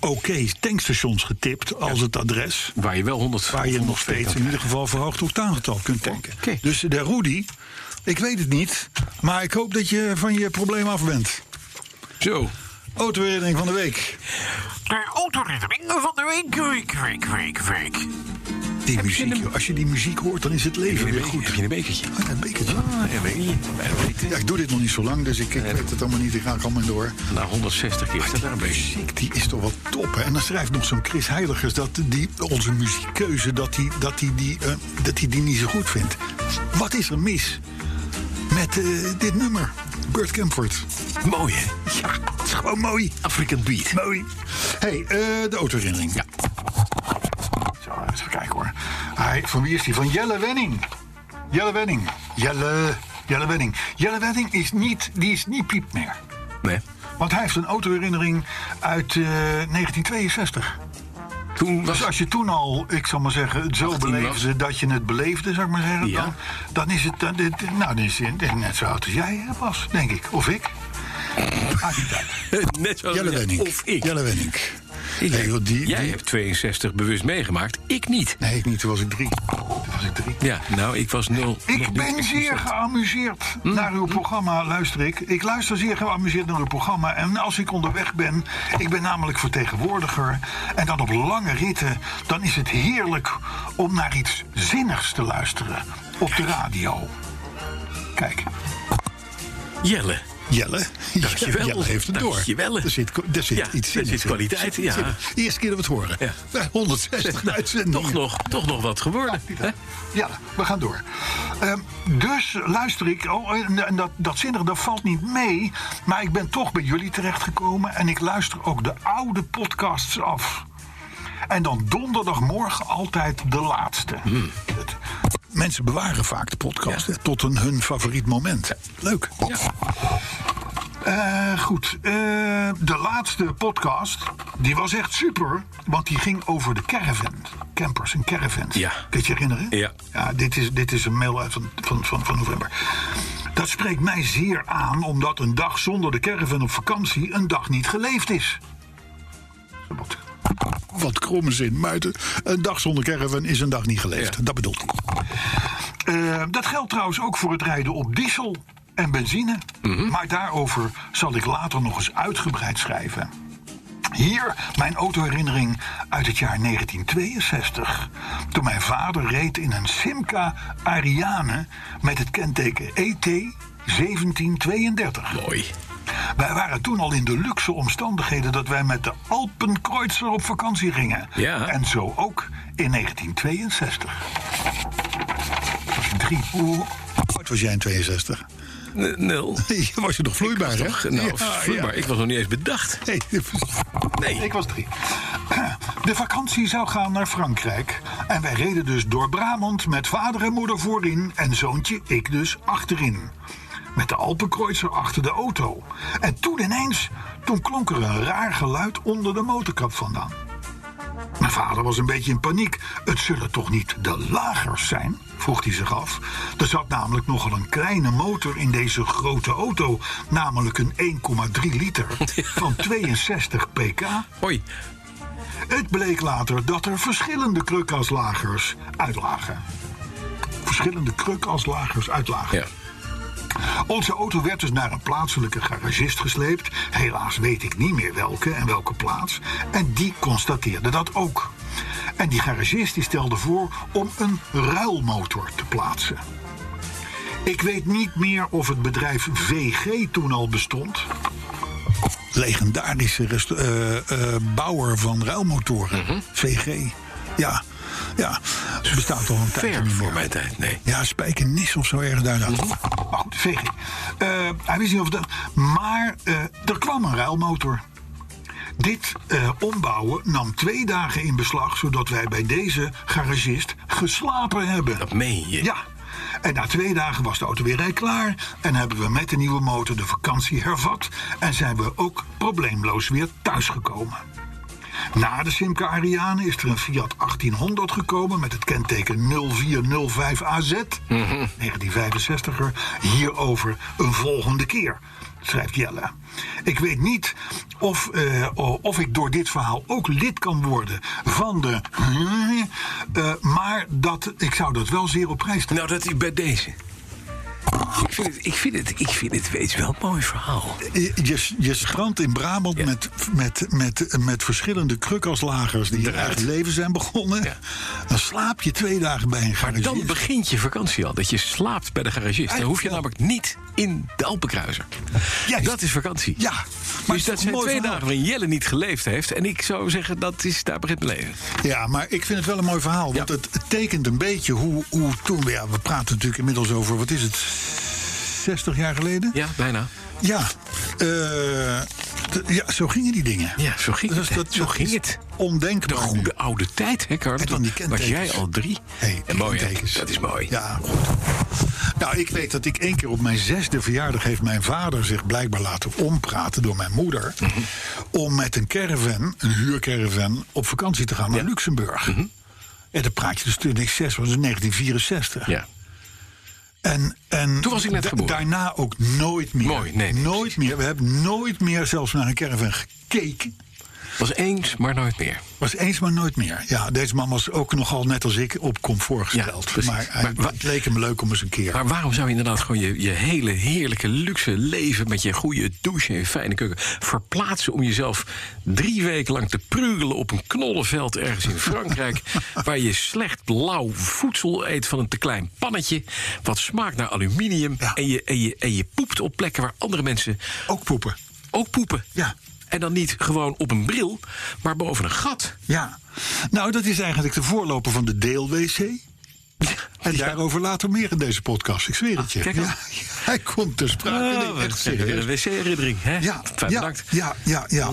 Speaker 2: oké tankstations getipt als het adres
Speaker 3: Waar je wel 100
Speaker 2: waar je
Speaker 3: of
Speaker 2: nog
Speaker 3: 102
Speaker 2: steeds in ieder geval verhoogd octaangetal kunt tanken.
Speaker 3: Oké.
Speaker 2: Dus de Rudy, ik weet het niet, maar ik hoop dat je van je probleem af bent.
Speaker 3: kan. Zo.
Speaker 2: Autoherinnering van de week.
Speaker 4: De autoherinnering van de week, week, week, week, week.
Speaker 2: Die muziek, joh. als je die muziek hoort, dan is het leven
Speaker 3: Heb je
Speaker 2: weer
Speaker 3: een bekertje?
Speaker 2: goed.
Speaker 3: Heb je een bekertje?
Speaker 2: Ah, een bekertje.
Speaker 3: Ah, een bekertje. Bij de weten.
Speaker 2: Ja, ik doe dit nog niet zo lang, dus ik, ik weet het allemaal niet. Ik ga er allemaal in door.
Speaker 3: Nou, 160 keer. Staat daar een beetje.
Speaker 2: Muziek, die is toch wel top, hè? En dan schrijft nog zo'n Chris Heiligers dat die, onze muziekkeuze... dat hij dat die, die, eh, dat die, die niet zo goed vindt. Wat is er mis met eh, dit nummer? Burt Camford.
Speaker 3: Mooi, hè?
Speaker 2: Ja, het is gewoon mooi.
Speaker 3: African Beat.
Speaker 2: Mooi. hey, eh, de autoherinnering. Ja. Zo, even kijken hoor. Hij, van wie is die? Van Jelle Wenning. Jelle Wenning. Jelle Jelle Wedding. Jelle Wedding is niet, die is niet Piep meer.
Speaker 3: Nee.
Speaker 2: Want hij heeft een autoherinnering uit eh, 1962.
Speaker 3: Toen was
Speaker 2: Dus als je toen al, ik zal maar zeggen, het zo
Speaker 3: 18 was.
Speaker 2: beleefde dat je het beleefde, zou ik maar zeggen,
Speaker 3: Ja.
Speaker 2: dan, dan is het, dan, dit- nou, dan is het net zo oud als jij eh, was, denk ik. Of ik. Maakt niet uit.
Speaker 3: net zo
Speaker 5: Jelle Wenning.
Speaker 3: Of ik.
Speaker 5: Jelle Wenning. Nee, joh, die,
Speaker 3: Jij
Speaker 5: die-
Speaker 3: hebt 62 bewust meegemaakt, ik niet.
Speaker 2: Nee, ik niet. Toen was ik drie. Toen was ik drie.
Speaker 3: Ja, nou, ik was nul. nog
Speaker 2: Ik
Speaker 3: nul.
Speaker 2: ben zeer geamuseerd
Speaker 5: Hm?
Speaker 2: naar uw programma, luister ik. Ik luister zeer geamuseerd naar uw programma. En als ik onderweg ben, ik ben namelijk vertegenwoordiger. En dan op lange ritten, dan is het heerlijk om naar iets zinnigs te luisteren. Op de radio. Kijk,
Speaker 3: Jelle.
Speaker 5: Jelle.
Speaker 3: Dankjewel.
Speaker 5: Jelle heeft het door.
Speaker 3: Dankjewel.
Speaker 5: Er zit, er zit
Speaker 3: Ja,
Speaker 5: iets
Speaker 3: er
Speaker 5: in.
Speaker 3: zit kwaliteit, ja.
Speaker 5: De eerste keer dat we het horen.
Speaker 3: Ja.
Speaker 5: Nou, 160
Speaker 3: Nou,
Speaker 5: uitzendingen.
Speaker 3: toch, nog, toch nog wat geworden. hè?
Speaker 2: ja, we gaan door. Ehm, dus luister ik, oh, en en dat, dat zinnige, dat valt niet mee. Maar ik ben toch bij jullie terechtgekomen. En ik luister ook de oude podcasts af. En dan donderdagmorgen altijd de laatste. Het-
Speaker 5: Mensen bewaren vaak de podcast hè, tot een hun favoriet moment. Leuk.
Speaker 2: Eh, goed, eh, de laatste podcast, die was echt super. Want die ging over de caravan. Campers en caravans.
Speaker 3: Ja.
Speaker 2: Kun je je herinneren?
Speaker 3: Ja.
Speaker 2: ja dit, is, dit is een mail uit van, van, van, van november. Dat spreekt mij zeer aan, omdat een dag zonder de caravan op vakantie... een dag niet geleefd is. Wat
Speaker 5: Wat kromme zin, Muiten. Een dag zonder caravan is een dag niet geleefd.
Speaker 3: Ja.
Speaker 5: Dat bedoelt hij.
Speaker 2: Eh, dat geldt trouwens ook voor het rijden op diesel en benzine.
Speaker 3: Mhm.
Speaker 2: Maar daarover zal ik later nog eens uitgebreid schrijven. Hier mijn autoherinnering uit het jaar 1962. Toen mijn vader reed in een Simca Ariane met het kenteken E ET 1732.
Speaker 3: Mooi.
Speaker 2: Wij waren toen al in de luxe omstandigheden dat wij met de Alpenkreuzer op vakantie gingen.
Speaker 3: Ja.
Speaker 2: En zo ook in 1962. Was ik Drie. Hoe-
Speaker 5: Hoe oud was jij in 62?
Speaker 3: N- Nul.
Speaker 5: Nee, was je nog vloeibaar, hè?
Speaker 3: Nog, nou,
Speaker 5: Ja,
Speaker 3: vloeibaar.
Speaker 5: ja.
Speaker 3: Ik was nog niet eens bedacht.
Speaker 5: Nee,
Speaker 3: Nee.
Speaker 2: Ik was drie. De vakantie zou gaan naar Frankrijk. En wij reden dus door Brabant met vader en moeder voorin en zoontje, ik dus, achterin. Met de Alpenkreuzer achter de auto. En toen ineens, toen klonk er een raar geluid onder de motorkap vandaan. Mijn vader was een beetje in paniek. Het zullen toch niet de lagers zijn? vroeg hij zich af. Er zat namelijk nogal een kleine motor in deze grote auto, namelijk een 1,3 liter van 62 pk.
Speaker 3: Hoi.
Speaker 2: Het bleek later dat er verschillende krukaslagers uitlagen. Verschillende krukaslagers uitlagen.
Speaker 3: Ja.
Speaker 2: Onze auto werd dus naar een plaatselijke garagist gesleept. Helaas weet ik niet meer welke en welke plaats. En die constateerde dat ook. En die garagist die stelde voor om een ruilmotor te plaatsen. Ik weet niet meer of het bedrijf VG toen al bestond.
Speaker 5: legendarische rest- eh, eh, bouwer van ruilmotoren. VG. Ja, ja. Het bestaat al een tijdje
Speaker 3: Ver
Speaker 5: niet
Speaker 3: voor
Speaker 5: meer.
Speaker 3: mijn tijd, nee.
Speaker 5: Ja, Spijkenis of zo erg daarna.
Speaker 2: Maar goed, VG. Oh, Eh, hij wist niet of dat. Maar eh, er kwam een ruilmotor. Dit eh, ombouwen nam twee dagen in beslag, zodat wij bij deze garagist geslapen hebben.
Speaker 3: Dat meen je.
Speaker 2: Ja. En na twee dagen was de auto weer rijklaar. En hebben we met de nieuwe motor de vakantie hervat. En zijn we ook probleemloos weer thuisgekomen. Na de Simca Ariane is er een Fiat 1800 gekomen met het kenteken 0405AZ. 1965er. Hierover een volgende keer, schrijft Jelle. Ik weet niet of, eh, o- of ik door dit verhaal ook lid kan worden van de. eh, maar dat, ik zou dat wel zeer op prijs stellen.
Speaker 3: Nou, dat is bij deze. Ik vind het, ik vind het, ik vind het weet je wel een mooi verhaal.
Speaker 5: Je, Eh, je- je strandt in Brabant
Speaker 3: Ja.
Speaker 5: met, met, met, met verschillende krukaslagers die je eigen leven zijn begonnen.
Speaker 3: Ja.
Speaker 5: Dan slaap je twee dagen bij een
Speaker 3: Maar
Speaker 5: garage.
Speaker 3: dan begint je vakantie al, dat je slaapt bij de garagist. Dan hoef je namelijk niet in de Alpenkruiser.
Speaker 5: Juist.
Speaker 3: Dat is vakantie.
Speaker 5: Ja, maar het
Speaker 3: dus
Speaker 5: is toch
Speaker 3: dat zijn
Speaker 5: een mooi
Speaker 3: twee
Speaker 5: verhaal?
Speaker 3: dagen waarin Jelle niet geleefd heeft. En ik zou zeggen, dat is, daar begint mijn leven.
Speaker 5: Ja, maar ik vind het wel een mooi verhaal. Want
Speaker 3: Ja.
Speaker 5: het, het tekent een beetje hoe, hoe toen... Ja, we praten natuurlijk inmiddels over, wat is het, 60 jaar geleden?
Speaker 3: Ja, bijna.
Speaker 5: Ja, eh, t- ja zo gingen die dingen.
Speaker 3: Ja, zo ging
Speaker 5: Dus
Speaker 3: het.
Speaker 5: dat-
Speaker 3: zo
Speaker 5: dat
Speaker 3: ging
Speaker 5: is
Speaker 3: het. De
Speaker 5: Ondenkbaar. nu.
Speaker 3: goede oude tijd, hè, Carl?
Speaker 5: En dan die
Speaker 3: was
Speaker 5: kentekens.
Speaker 3: jij al drie.
Speaker 5: Hey, die
Speaker 3: en mooi, hè?
Speaker 5: kentekens.
Speaker 3: Dat is mooi.
Speaker 5: Ja, goed.
Speaker 2: Nou, ik weet dat ik één keer op mijn zesde verjaardag... heeft mijn vader zich blijkbaar laten ompraten door mijn moeder...
Speaker 3: Mhm.
Speaker 2: om met een caravan, een huurcaravan, op vakantie te gaan naar Luxemburg.
Speaker 3: Mhm.
Speaker 2: En dan praat je dus toen ik zes was, dus 1964.
Speaker 3: Ja.
Speaker 2: En, en
Speaker 3: Toen was ik net
Speaker 2: da-
Speaker 3: geboren.
Speaker 2: Daarna ook nooit meer.
Speaker 3: Mooi, nee, nee,
Speaker 2: nooit meer. We hebben nooit meer zelfs naar een caravan gekeken.
Speaker 3: Was eens, maar nooit meer.
Speaker 2: Was eens maar nooit meer. Ja, deze man was ook nogal net als ik op comfort gesteld.
Speaker 3: precies.
Speaker 2: maar hij,
Speaker 3: Maar wa-
Speaker 2: het leek hem leuk om eens een keer.
Speaker 3: Maar waarom zou je inderdaad gewoon je, je hele heerlijke luxe leven... met je goede douche en je fijne keuken verplaatsen... om jezelf drie weken lang te prugelen op een knollenveld ergens in Frankrijk... waar je slecht lauw voedsel eet van een te klein pannetje... wat smaakt naar aluminium
Speaker 2: Ja.
Speaker 3: en, je, en, je, en je poept op plekken waar andere mensen
Speaker 2: ook poepen.
Speaker 3: ook poepen.
Speaker 2: Ja.
Speaker 3: En dan niet gewoon op een bril, maar boven een gat.
Speaker 2: Ja. Nou, dat is eigenlijk de voorloper van de deelwc. En daarover later meer in deze podcast. Ik zweer het je.
Speaker 3: Ah, kijk dan.
Speaker 2: Ja, hij komt ter sprake. Nee,
Speaker 3: Oh,
Speaker 2: echt
Speaker 3: wat een
Speaker 2: serieus.
Speaker 3: wc-herinnering, hè?
Speaker 2: Ja,
Speaker 3: Fijn,
Speaker 2: ja,
Speaker 3: bedankt. Mhm.
Speaker 2: ja, ja, ja.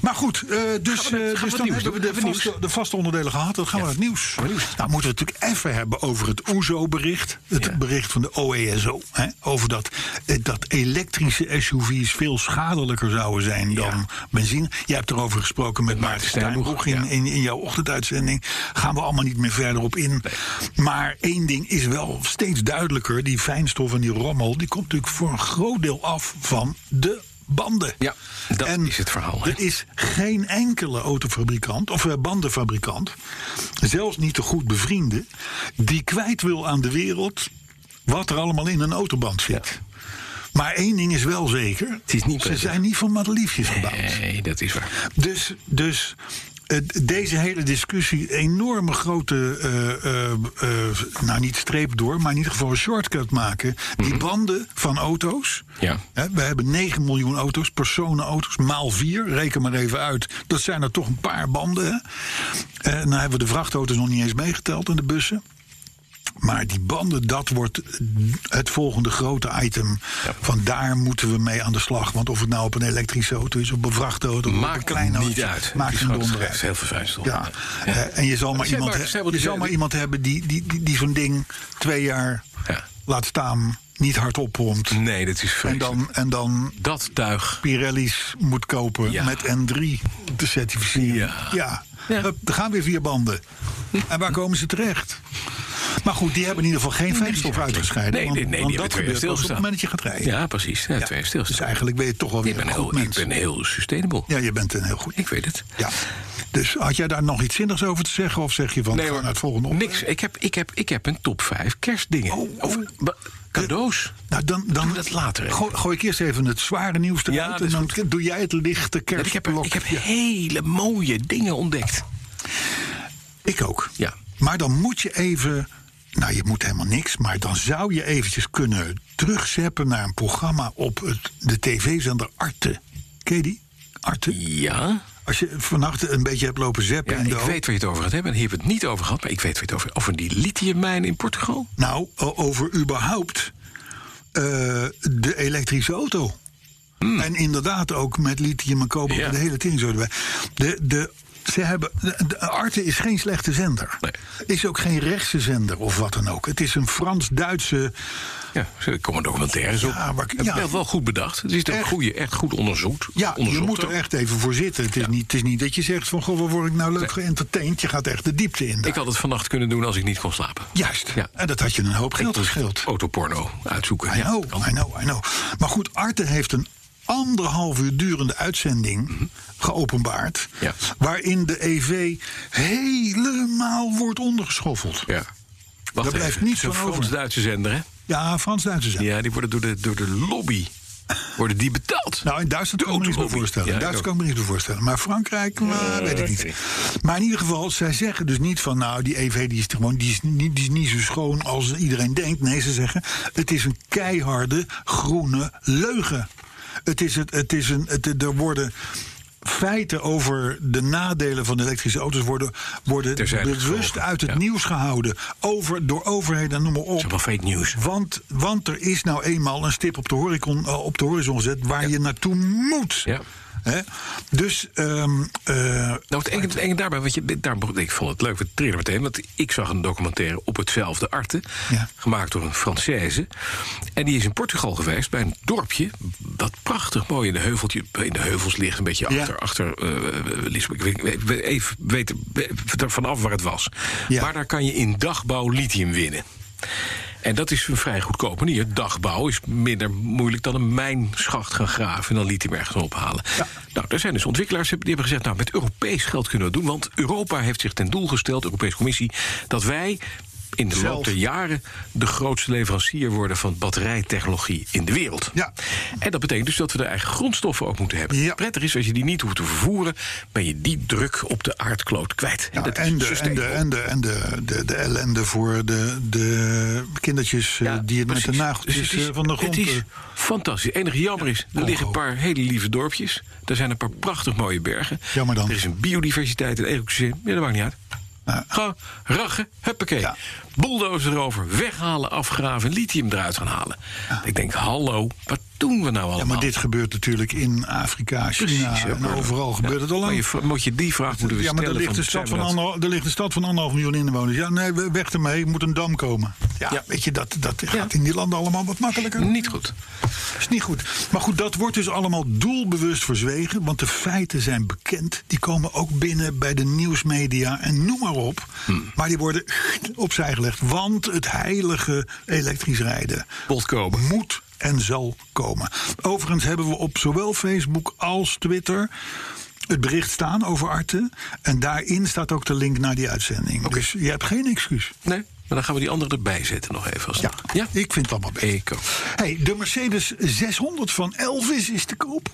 Speaker 2: Maar goed, eh, dus,
Speaker 3: Gaan we naar-
Speaker 2: eh,
Speaker 3: gaan we
Speaker 2: dus
Speaker 3: het
Speaker 2: dan
Speaker 3: nieuws
Speaker 2: hebben we de
Speaker 3: doen? Gaan we het
Speaker 2: vaste,
Speaker 3: nieuws?
Speaker 2: de vaste onderdelen gehad. Dan gaan we naar het nieuws.
Speaker 3: gaan we nieuws.
Speaker 2: Nou moeten we het natuurlijk even hebben over het OESO-bericht. Het
Speaker 3: Ja.
Speaker 2: bericht van de OESO. Hè, over dat, eh, dat elektrische SUV's veel schadelijker zouden zijn dan benzine. Jij hebt erover gesproken met Maarten
Speaker 3: Stijnboeg,
Speaker 2: Stijnboeg in,
Speaker 3: ja.
Speaker 2: in, in jouw ochtenduitzending. Gaan we allemaal niet meer verder op in. Maar één ding is wel steeds duidelijker. Die fijnstof en die rommel, die komt natuurlijk voor een groot deel af van de banden.
Speaker 3: Ja, dat is het verhaal, hè?
Speaker 2: Er is geen enkele autofabrikant of eh, bandenfabrikant, zelfs niet de goed bevriende, die kwijt wil aan de wereld wat er allemaal in een autoband zit. Maar één ding is wel zeker.
Speaker 3: is niet
Speaker 2: ze
Speaker 3: prettig.
Speaker 2: zijn niet van madeliefjes gebouwd.
Speaker 3: Nee, dat is waar.
Speaker 2: Dus, dus eh, deze hele discussie, enorme grote, eh, eh, eh, nou niet streep door, maar in ieder geval een shortcut maken. Die banden van auto's.
Speaker 3: Ja.
Speaker 2: Hè, we hebben 9 miljoen auto's, personenauto's, maal 4. Reken maar even uit. Dat zijn er toch een paar banden. Hè? Eh, en dan hebben we de vrachtauto's nog niet eens meegeteld en de bussen. Maar die banden, dat wordt het volgende grote item. Van daar moeten we mee aan de slag. Want of het nou op een elektrische auto is, op een vrachtauto, of op een
Speaker 3: Maakt
Speaker 2: klein
Speaker 3: het
Speaker 2: auto.
Speaker 3: niet uit.
Speaker 2: Maakt
Speaker 3: Het is
Speaker 2: geen
Speaker 3: gewoon-
Speaker 2: donder
Speaker 3: het
Speaker 2: uit.
Speaker 3: geeft heel veel fijnstof.
Speaker 2: Ja. Eh, en je zal maar,
Speaker 3: Zij
Speaker 2: iemand,
Speaker 3: maken-
Speaker 2: he-
Speaker 3: zij wil
Speaker 2: je
Speaker 3: die
Speaker 2: zal
Speaker 3: zei-
Speaker 2: maar iemand hebben die, die, die, die zo'n ding twee jaar
Speaker 3: Ja.
Speaker 2: laat staan, niet hard oppompt.
Speaker 3: Nee, dat is
Speaker 2: En
Speaker 3: vreselijk.
Speaker 2: dan, en dan
Speaker 3: dat tuig.
Speaker 2: Pirelli's moet kopen
Speaker 3: Ja.
Speaker 2: met N3 te certificeren.
Speaker 3: Ja.
Speaker 2: Hup, er gaan weer vier banden. En waar komen ze terecht? Maar goed, die hebben in ieder geval geen fijnstof uitgescheiden.
Speaker 3: Nee, nee, nee,
Speaker 2: want-
Speaker 3: die
Speaker 2: want dat
Speaker 3: hebben twee
Speaker 2: gebeurt pas op het
Speaker 3: stilgestaan.
Speaker 2: moment dat je gaat rijden.
Speaker 3: Ja, precies. Ja, Twee
Speaker 2: Dus
Speaker 3: stilstaan.
Speaker 2: eigenlijk ben je toch wel
Speaker 3: Ik
Speaker 2: weer
Speaker 3: ben
Speaker 2: een goed
Speaker 3: heel, ik
Speaker 2: mens.
Speaker 3: ben heel sustainable.
Speaker 2: Ja, je bent een heel goed
Speaker 3: Ik weet het.
Speaker 2: ja. Dus had jij daar nog iets zinnigs over te zeggen? Of zeg je van, nee,
Speaker 3: hoor,
Speaker 2: naar het volgende op?
Speaker 3: Niks. Ik heb, ik, heb, ik heb een top 5 kerstdingen.
Speaker 2: Oh,
Speaker 3: Of
Speaker 2: oh.
Speaker 3: ba- cadeaus.
Speaker 2: Nou, dan, dan
Speaker 3: we dat later even.
Speaker 2: Gooi, gooi ik eerst even het zware nieuws eruit.
Speaker 3: Ja, dat
Speaker 2: en
Speaker 3: is
Speaker 2: dan doe jij het lichte
Speaker 3: ik heb,
Speaker 2: kerstblok.
Speaker 3: ik heb hele mooie dingen ontdekt.
Speaker 2: Ik ook.
Speaker 3: Ja.
Speaker 2: Maar dan moet je even. Nou, je moet helemaal niks, maar dan zou je eventjes kunnen terugzeppen naar een programma op het, de tv-zender Arte. Ken je die? Arte.
Speaker 3: Ja.
Speaker 2: Als je vannacht een beetje hebt lopen zeppen
Speaker 3: ja
Speaker 2: in
Speaker 3: ik
Speaker 2: de
Speaker 3: weet waar je het over gaat hebben. En hier hebben we het niet over gehad. Maar ik weet waar je het over Over die lithiummijn in Portugal.
Speaker 2: Nou, o- over überhaupt eh, de elektrische auto. En inderdaad ook met lithium en kobalt
Speaker 3: Hmm. Ja.
Speaker 2: en de hele ting zo erbij. De, de, ze hebben, de, de Arte is geen slechte zender.
Speaker 3: Nee.
Speaker 2: Is ook geen rechtse zender of wat dan ook. Het is een Frans-Duitse...
Speaker 3: Ja, er komen documentaires op.
Speaker 2: Ja, maar-
Speaker 3: Het
Speaker 2: ja.
Speaker 3: werd wel goed bedacht. Het is echt,
Speaker 2: Echt.
Speaker 3: goede, echt goed onderzoekt.
Speaker 2: Ja, je
Speaker 3: onderzocht
Speaker 2: moet er
Speaker 3: ook.
Speaker 2: echt even voor zitten. Het is, niet, het is niet dat je zegt van, goh, waar word ik nou leuk geëntertaind? Je gaat echt de diepte in. daar.
Speaker 3: Ik had het vannacht kunnen doen als ik niet kon slapen.
Speaker 2: Juist.
Speaker 3: Ja.
Speaker 2: En dat had je een hoop geld gescheeld.
Speaker 3: Autoporno uitzoeken.
Speaker 2: I
Speaker 3: Ja,
Speaker 2: know,
Speaker 3: kan.
Speaker 2: I know, I know. Maar goed, Arte heeft een anderhalf uur durende uitzending geopenbaard...
Speaker 3: Mhm. Ja.
Speaker 2: waarin de EV helemaal wordt ondergeschoffeld.
Speaker 3: Ja. Wacht
Speaker 2: Daar blijft
Speaker 3: even.
Speaker 2: niets
Speaker 3: Zo'n
Speaker 2: van over.
Speaker 3: Frans-Duitse zender, hè?
Speaker 2: Ja, Frans-Duitse zijn.
Speaker 3: Ja, die worden door de, door de lobby worden die betaald.
Speaker 2: Nou, in Duitsland kan ik me niets meer
Speaker 3: autolobby.
Speaker 2: voorstellen.
Speaker 3: Ja,
Speaker 2: in
Speaker 3: ik
Speaker 2: Duitsland
Speaker 3: ook.
Speaker 2: kan ik me niets meer voorstellen. Maar Frankrijk, maar, weet ik niet. Maar in ieder geval, zij zeggen dus niet van... nou, die EV die is, er gewoon, die is, niet, die is niet zo schoon als iedereen denkt. Nee, ze zeggen, het is een keiharde groene leugen. Het is het, het is een, het, er worden... Feiten over de nadelen van elektrische auto's worden, worden
Speaker 3: Terzijde
Speaker 2: bewust
Speaker 3: geschoven,
Speaker 2: uit het
Speaker 3: ja.
Speaker 2: nieuws gehouden. Over, door overheden, en noem maar op.
Speaker 3: Dat is allemaal fake news.
Speaker 2: Want, want er is nou eenmaal een stip op de horizon, eh, op de horizon gezet waar je naartoe moet.
Speaker 3: Ja.
Speaker 2: Hè? Dus ehm, eh,
Speaker 3: Nou, het enge, het enge daarbij, want je, dit- daar, begon- ik vond het leuk, we trillen meteen. Want ik zag een documentaire op hetzelfde arte,
Speaker 2: Ja.
Speaker 3: gemaakt door een Française. En die is in Portugal geweest, bij een dorpje dat prachtig mooi in de, heuveltje, in de heuvels ligt. Een beetje
Speaker 2: Ja.
Speaker 3: achter, achter eh, Lisbon. Ik weet- ik weet, even weten we- vanaf waar het was.
Speaker 2: Ja.
Speaker 3: Maar daar kan je in dagbouw lithium winnen. En dat is een vrij goedkoop manier. Dagbouw is minder moeilijk dan een mijnschacht gaan graven... en dan lithium ergens ophalen. Nou, er zijn dus ontwikkelaars die hebben gezegd... nou, met Europees geld kunnen we dat doen. Want Europa heeft zich ten doel gesteld, de Europese Commissie... dat wij in de loop der jaren de grootste leverancier worden... van batterijtechnologie in de wereld.
Speaker 2: Ja.
Speaker 3: En dat betekent dus dat we de eigen grondstoffen ook moeten hebben.
Speaker 2: Ja.
Speaker 3: Prettig is, als je die niet hoeft te vervoeren... ben je die druk op de aardkloot kwijt.
Speaker 2: ja,
Speaker 3: dat is
Speaker 2: en, de, en,
Speaker 3: dus
Speaker 2: de,
Speaker 3: sustainable.
Speaker 2: en, de, en de, de, de ellende voor de, de kindertjes eh,
Speaker 3: Ja,
Speaker 2: die het met
Speaker 3: precies.
Speaker 2: de nageltjes
Speaker 3: Dus het is-
Speaker 2: eh, van de grond...
Speaker 3: Het is
Speaker 2: eh,
Speaker 3: fantastisch. Het enige jammer is, er liggen een paar hele lieve dorpjes. Er zijn een paar prachtig mooie bergen.
Speaker 2: Jammer dan.
Speaker 3: Er is een biodiversiteit en ecosysteem. Ja, dat maakt niet uit.
Speaker 2: Ja.
Speaker 3: Gewoon rachen, huppakee.
Speaker 2: Ja.
Speaker 3: Bulldozer erover, weghalen, afgraven, lithium eruit gaan halen. Ik denk, hallo, wat doen we nou allemaal?
Speaker 2: ja, maar dit gebeurt natuurlijk in Afrika, China,
Speaker 3: Precies, hè,
Speaker 2: en
Speaker 3: Bernard.
Speaker 2: overal
Speaker 3: Ja,
Speaker 2: gebeurt het al
Speaker 3: maar
Speaker 2: lang.
Speaker 3: je vra- moet je die vraag moeten we
Speaker 2: Ja, maar
Speaker 3: stellen.
Speaker 2: er ligt,
Speaker 3: van,
Speaker 2: een stad
Speaker 3: zijn
Speaker 2: van
Speaker 3: we dat-
Speaker 2: anderhal- er ligt een stad van anderhalf miljoen inwoners. Ja, nee, we- weg ermee, moet een dam komen. Ja,
Speaker 3: Ja.
Speaker 2: weet je, dat, dat
Speaker 3: Ja.
Speaker 2: gaat in die landen allemaal wat makkelijker.
Speaker 3: Niet goed.
Speaker 2: Is niet goed. Maar goed, dat wordt dus allemaal doelbewust verzwegen. Want de feiten zijn bekend. Die komen ook binnen bij de nieuwsmedia en noem maar op. Maar die worden opzij gelegd. Want het heilige elektrisch rijden
Speaker 3: Bot komen.
Speaker 2: moet en zal komen. Overigens hebben we op zowel Facebook als Twitter het bericht staan over Arte. En daarin staat ook de link naar die uitzending. Dus je hebt geen excuus.
Speaker 3: Nee, maar dan gaan we die andere erbij zetten nog even. Als
Speaker 2: Ja,
Speaker 3: het mag. ja?
Speaker 2: ik vind het allemaal best.
Speaker 3: Eco.
Speaker 2: Hey, de Mercedes 600 van Elvis is te koop.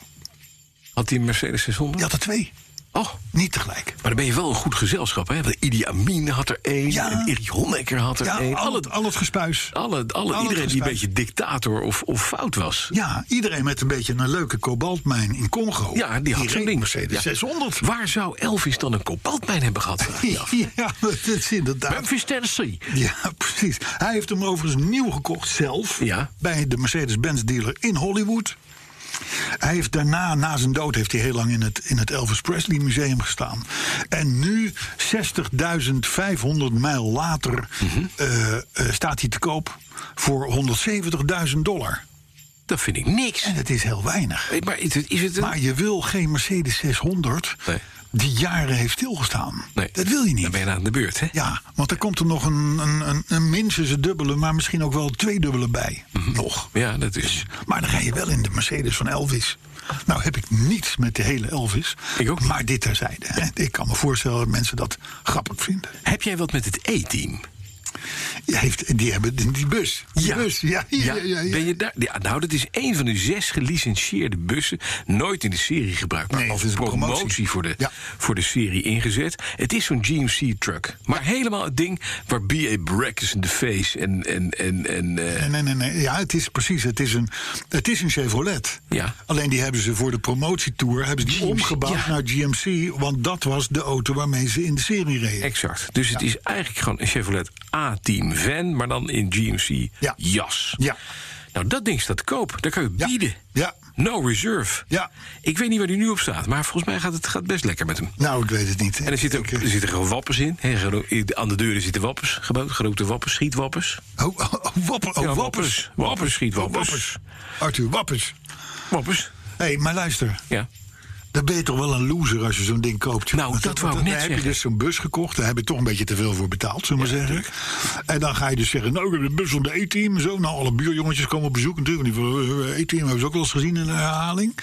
Speaker 3: Had die Mercedes 600?
Speaker 2: Je had er twee.
Speaker 3: Oh,
Speaker 2: Niet tegelijk.
Speaker 3: Maar dan ben je wel een goed gezelschap, hè? Want Idi Amin had er één,
Speaker 2: Ja.
Speaker 3: en Erich Honecker had er
Speaker 2: Ja,
Speaker 3: één.
Speaker 2: al,
Speaker 3: Alle,
Speaker 2: het, al het gespuis.
Speaker 3: alle, alle,
Speaker 2: het
Speaker 3: iedereen die een
Speaker 2: gespuis.
Speaker 3: beetje dictator of, of fout was.
Speaker 2: Ja, iedereen met een beetje een leuke kobaltmijn in Congo.
Speaker 3: Ja, die had zo'n
Speaker 2: reed
Speaker 3: ding.
Speaker 2: Mercedes
Speaker 3: Ja.
Speaker 2: 600.
Speaker 3: Waar zou Elvis dan een kobaltmijn hebben gehad? vraag ik me af.
Speaker 2: Ja, dat is inderdaad.
Speaker 3: Memphis, Tennessee.
Speaker 2: Ja, precies. Hij heeft hem overigens nieuw gekocht zelf.
Speaker 3: Ja.
Speaker 2: Bij de Mercedes-Benz dealer in Hollywood. Hij heeft daarna, na zijn dood, heeft hij heel lang in het, in het Elvis Presley Museum gestaan. En nu, 60.500 mijl later,
Speaker 3: Mhm.
Speaker 2: eh, eh, staat hij te koop voor 170.000 dollar.
Speaker 3: Dat vind ik niks.
Speaker 2: En het is heel weinig.
Speaker 3: Hey, Maar is het, is het een...
Speaker 2: Maar je wil geen Mercedes 600
Speaker 3: Nee.
Speaker 2: die jaren heeft stilgestaan.
Speaker 3: Nee.
Speaker 2: Dat wil je niet.
Speaker 3: Dan ben je aan de beurt, hè?
Speaker 2: Ja, want er komt er nog een, een, een, een minstens een dubbele, maar misschien ook wel twee dubbele bij.
Speaker 3: Mhm.
Speaker 2: Nog.
Speaker 3: Ja, dat is...
Speaker 2: Maar dan ga je wel in de Mercedes van Elvis. Nou heb ik niets met de hele Elvis.
Speaker 3: Ik ook niet.
Speaker 2: Maar dit terzijde. hè. Ik kan me voorstellen dat mensen dat grappig vinden.
Speaker 3: Heb jij wat met het E-team?
Speaker 2: Die, heeft, die hebben die, die bus. Die bus. Ja, ja, ja. ja,
Speaker 3: Ben je daar? Ja, nou, dat is één van de zes gelicentieerde bussen. Nooit in de serie gebruikt, maar
Speaker 2: Nee,
Speaker 3: als
Speaker 2: het is een
Speaker 3: promotie,
Speaker 2: promotie.
Speaker 3: voor, de,
Speaker 2: Ja.
Speaker 3: voor de serie ingezet. Het is zo'n GMC-truck. Maar helemaal het ding waar B.A. Brackens in de face en... en, en, en eh,
Speaker 2: Nee, nee, nee, nee. Ja, het is precies. Het is een, het is een Chevrolet.
Speaker 3: Ja.
Speaker 2: Alleen die hebben ze voor de promotietour hebben ze die
Speaker 3: GMC,
Speaker 2: omgebouwd
Speaker 3: ja.
Speaker 2: naar GMC. Want dat was de auto waarmee ze in de serie reden.
Speaker 3: exact. Dus het is eigenlijk gewoon een Chevrolet A-team van, maar dan in
Speaker 2: Ja.
Speaker 3: GMC-jas.
Speaker 2: Ja.
Speaker 3: Nou, dat ding staat te koop. Daar kan je
Speaker 2: Ja.
Speaker 3: bieden.
Speaker 2: Ja.
Speaker 3: No reserve.
Speaker 2: Ja.
Speaker 3: Ik weet niet waar die nu op staat, maar volgens mij gaat het gaat best lekker met hem.
Speaker 2: Nou, ik weet het niet.
Speaker 3: En er zitten,
Speaker 2: Ik,
Speaker 3: er
Speaker 2: eh,
Speaker 3: zitten gewoon wappers in. hè, gero- in- aan de deuren zitten wappers. Gewoon grote wappers, schietwappers.
Speaker 2: Oh, oh, oh, wapper- oh, wappers.
Speaker 3: Ja, wappers. Wappers, schiet
Speaker 2: Oh,
Speaker 3: wappers.
Speaker 2: Arthur, wappers.
Speaker 3: Wappers?
Speaker 2: Hé, hey, maar luister.
Speaker 3: Ja.
Speaker 2: Dan ben je toch wel een loser als je zo'n ding koopt. joh.
Speaker 3: Nou,
Speaker 2: Want
Speaker 3: dat
Speaker 2: dan-
Speaker 3: wou ik
Speaker 2: dan
Speaker 3: net
Speaker 2: heb je
Speaker 3: zeggen.
Speaker 2: dus zo'n bus gekocht. Daar heb je toch een beetje te veel voor betaald, zullen we zeggen. En dan ga je dus zeggen, nou, ik heb een bus van de E-team. en Zo, nou, alle buurjongetjes komen op bezoek natuurlijk. want Die van, eh, E-team hebben ze ook wel eens gezien in de herhaling.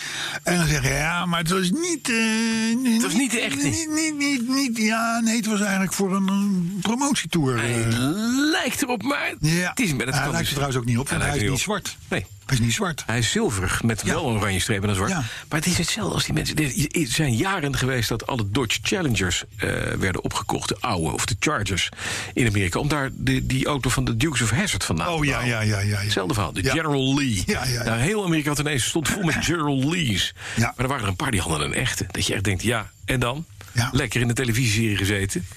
Speaker 2: En dan zeg je, ja, maar het was niet... eh,
Speaker 3: Het was niet de echte.
Speaker 2: Niet, niet, niet, niet- ja, nee, het was eigenlijk voor een, eh, promotietour. eh.
Speaker 3: Hij lijkt erop, maar
Speaker 2: Ja.
Speaker 3: het is... maar dat
Speaker 2: Hij
Speaker 3: kan
Speaker 2: lijkt
Speaker 3: dus.
Speaker 2: er trouwens ook niet op, want hij
Speaker 3: lijkt
Speaker 2: is
Speaker 3: er
Speaker 2: niet zwart.
Speaker 3: op. Nee.
Speaker 2: Hij is niet zwart.
Speaker 3: Hij is zilverig, met wel een oranje streep en een zwart.
Speaker 2: Ja.
Speaker 3: Maar het is hetzelfde als die mensen... Er er zijn jaren geweest dat alle Dodge Challengers eh, werden opgekocht. De oude, of de Chargers in Amerika. Om daar de, die auto van de Dukes of Hazzard vandaan
Speaker 2: Oh
Speaker 3: te
Speaker 2: ja,
Speaker 3: bouwen.
Speaker 2: ja, ja, ja. ja.
Speaker 3: Hetzelfde verhaal, de
Speaker 2: Ja.
Speaker 3: General Lee.
Speaker 2: Ja, ja, ja.
Speaker 3: Nou, heel Amerika had ineens stond vol met General Lees.
Speaker 2: Ja.
Speaker 3: Maar er waren er een paar die hadden een echte. Dat je echt denkt, ja, en dan?
Speaker 2: Ja.
Speaker 3: Lekker in de televisieserie gezeten.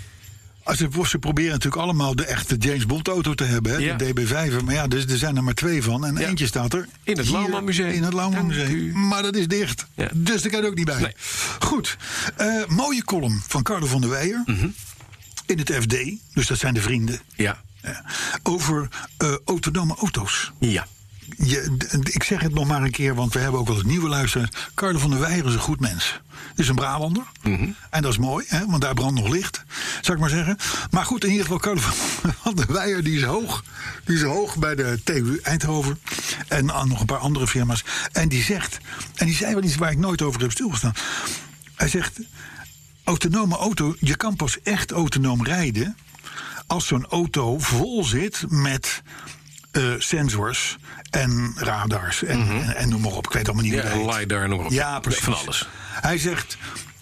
Speaker 2: Als Ze, ze proberen natuurlijk allemaal de echte James Bond auto te hebben, hè,
Speaker 3: Ja.
Speaker 2: de DB5. Maar ja, dus, er zijn er maar twee van. En
Speaker 3: Ja.
Speaker 2: eentje staat er.
Speaker 3: In het
Speaker 2: hier
Speaker 3: Lauwman Museum.
Speaker 2: In het Lauwman
Speaker 3: Dank u.
Speaker 2: Museum. Maar dat is dicht.
Speaker 3: Ja.
Speaker 2: Dus daar kan je ook niet bij.
Speaker 3: Nee.
Speaker 2: Goed. Eh, mooie column van Carlo van der Weijer.
Speaker 3: Mhm.
Speaker 2: In het FD. Dus dat zijn de vrienden.
Speaker 3: Ja.
Speaker 2: Ja. Over eh, autonome auto's.
Speaker 3: Ja.
Speaker 2: Je, d- ik zeg het nog maar een keer, want we hebben ook wel het nieuwe luisteraars. Carlo van der Weijer is een goed mens. Is een Brabander. En dat is mooi, hè, want daar brandt nog licht, zou ik maar zeggen. Maar goed, in ieder geval, Carlo van- van der Weijer die is hoog. Die is hoog bij de TU Eindhoven. En aan nog een paar andere firma's. En die zegt, en die zei wel iets waar ik nooit over heb stilgestaan. Hij zegt, autonome auto, je kan pas echt autonoom rijden als zo'n auto vol zit met eh, sensors en radars en, en, en noem maar op. Ik weet allemaal niet
Speaker 3: Mhm. Ja,
Speaker 2: hoe het heet.
Speaker 3: LiDAR, noem maar op.
Speaker 2: Ja, precies.
Speaker 3: Van alles.
Speaker 2: Hij zegt,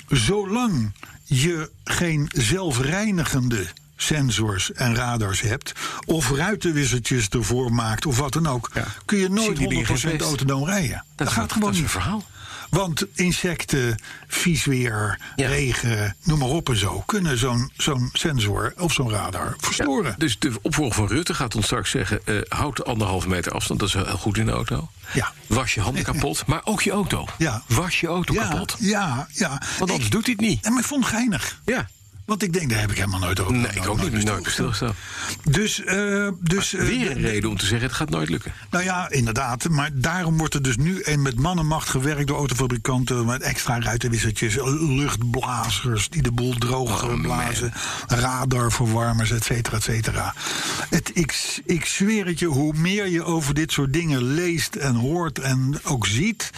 Speaker 2: zolang je geen zelfreinigende sensors en radars hebt... of ruitenwissertjes ervoor maakt of wat dan ook...
Speaker 3: Ja.
Speaker 2: kun je
Speaker 3: Zie
Speaker 2: nooit
Speaker 3: die dingen
Speaker 2: 100%
Speaker 3: geen feest.
Speaker 2: autonoom rijden. Dat,
Speaker 3: is-
Speaker 2: gaat gewoon
Speaker 3: dat is een
Speaker 2: niet.
Speaker 3: verhaal.
Speaker 2: Want insecten, vies weer,
Speaker 3: Ja.
Speaker 2: regen, noem maar op en zo... kunnen zo'n zo'n sensor of zo'n radar verstoren.
Speaker 3: Dus de opvolger van Rutte gaat ons straks zeggen... eh, houd de anderhalve meter afstand, dat is wel heel goed in de auto.
Speaker 2: Ja.
Speaker 3: Was je handen kapot, maar ook je auto.
Speaker 2: Ja.
Speaker 3: Was je auto
Speaker 2: ja,
Speaker 3: kapot.
Speaker 2: Ja, ja.
Speaker 3: Want anders
Speaker 2: Ik-
Speaker 3: doet hij het niet.
Speaker 2: En maar ik vond het geinig.
Speaker 3: Ja.
Speaker 2: Want ik denk, daar heb ik helemaal nooit over
Speaker 3: Nee, ik ook niet.
Speaker 2: bij
Speaker 3: Nooit bij stilgestaan.
Speaker 2: stilgestaan. Dus, eh, dus eh,
Speaker 3: Weer een reden om te zeggen, het gaat nooit lukken.
Speaker 2: nou ja, inderdaad. Maar daarom wordt er dus nu een met mannenmacht gewerkt door autofabrikanten. Met extra ruitenwissertjes, luchtblazers die de boel droog
Speaker 3: Oh,
Speaker 2: eh, blazen. Radarverwarmers, et cetera, et cetera. Het, ik, ik zweer het je, hoe meer je over dit soort dingen leest en hoort en ook ziet.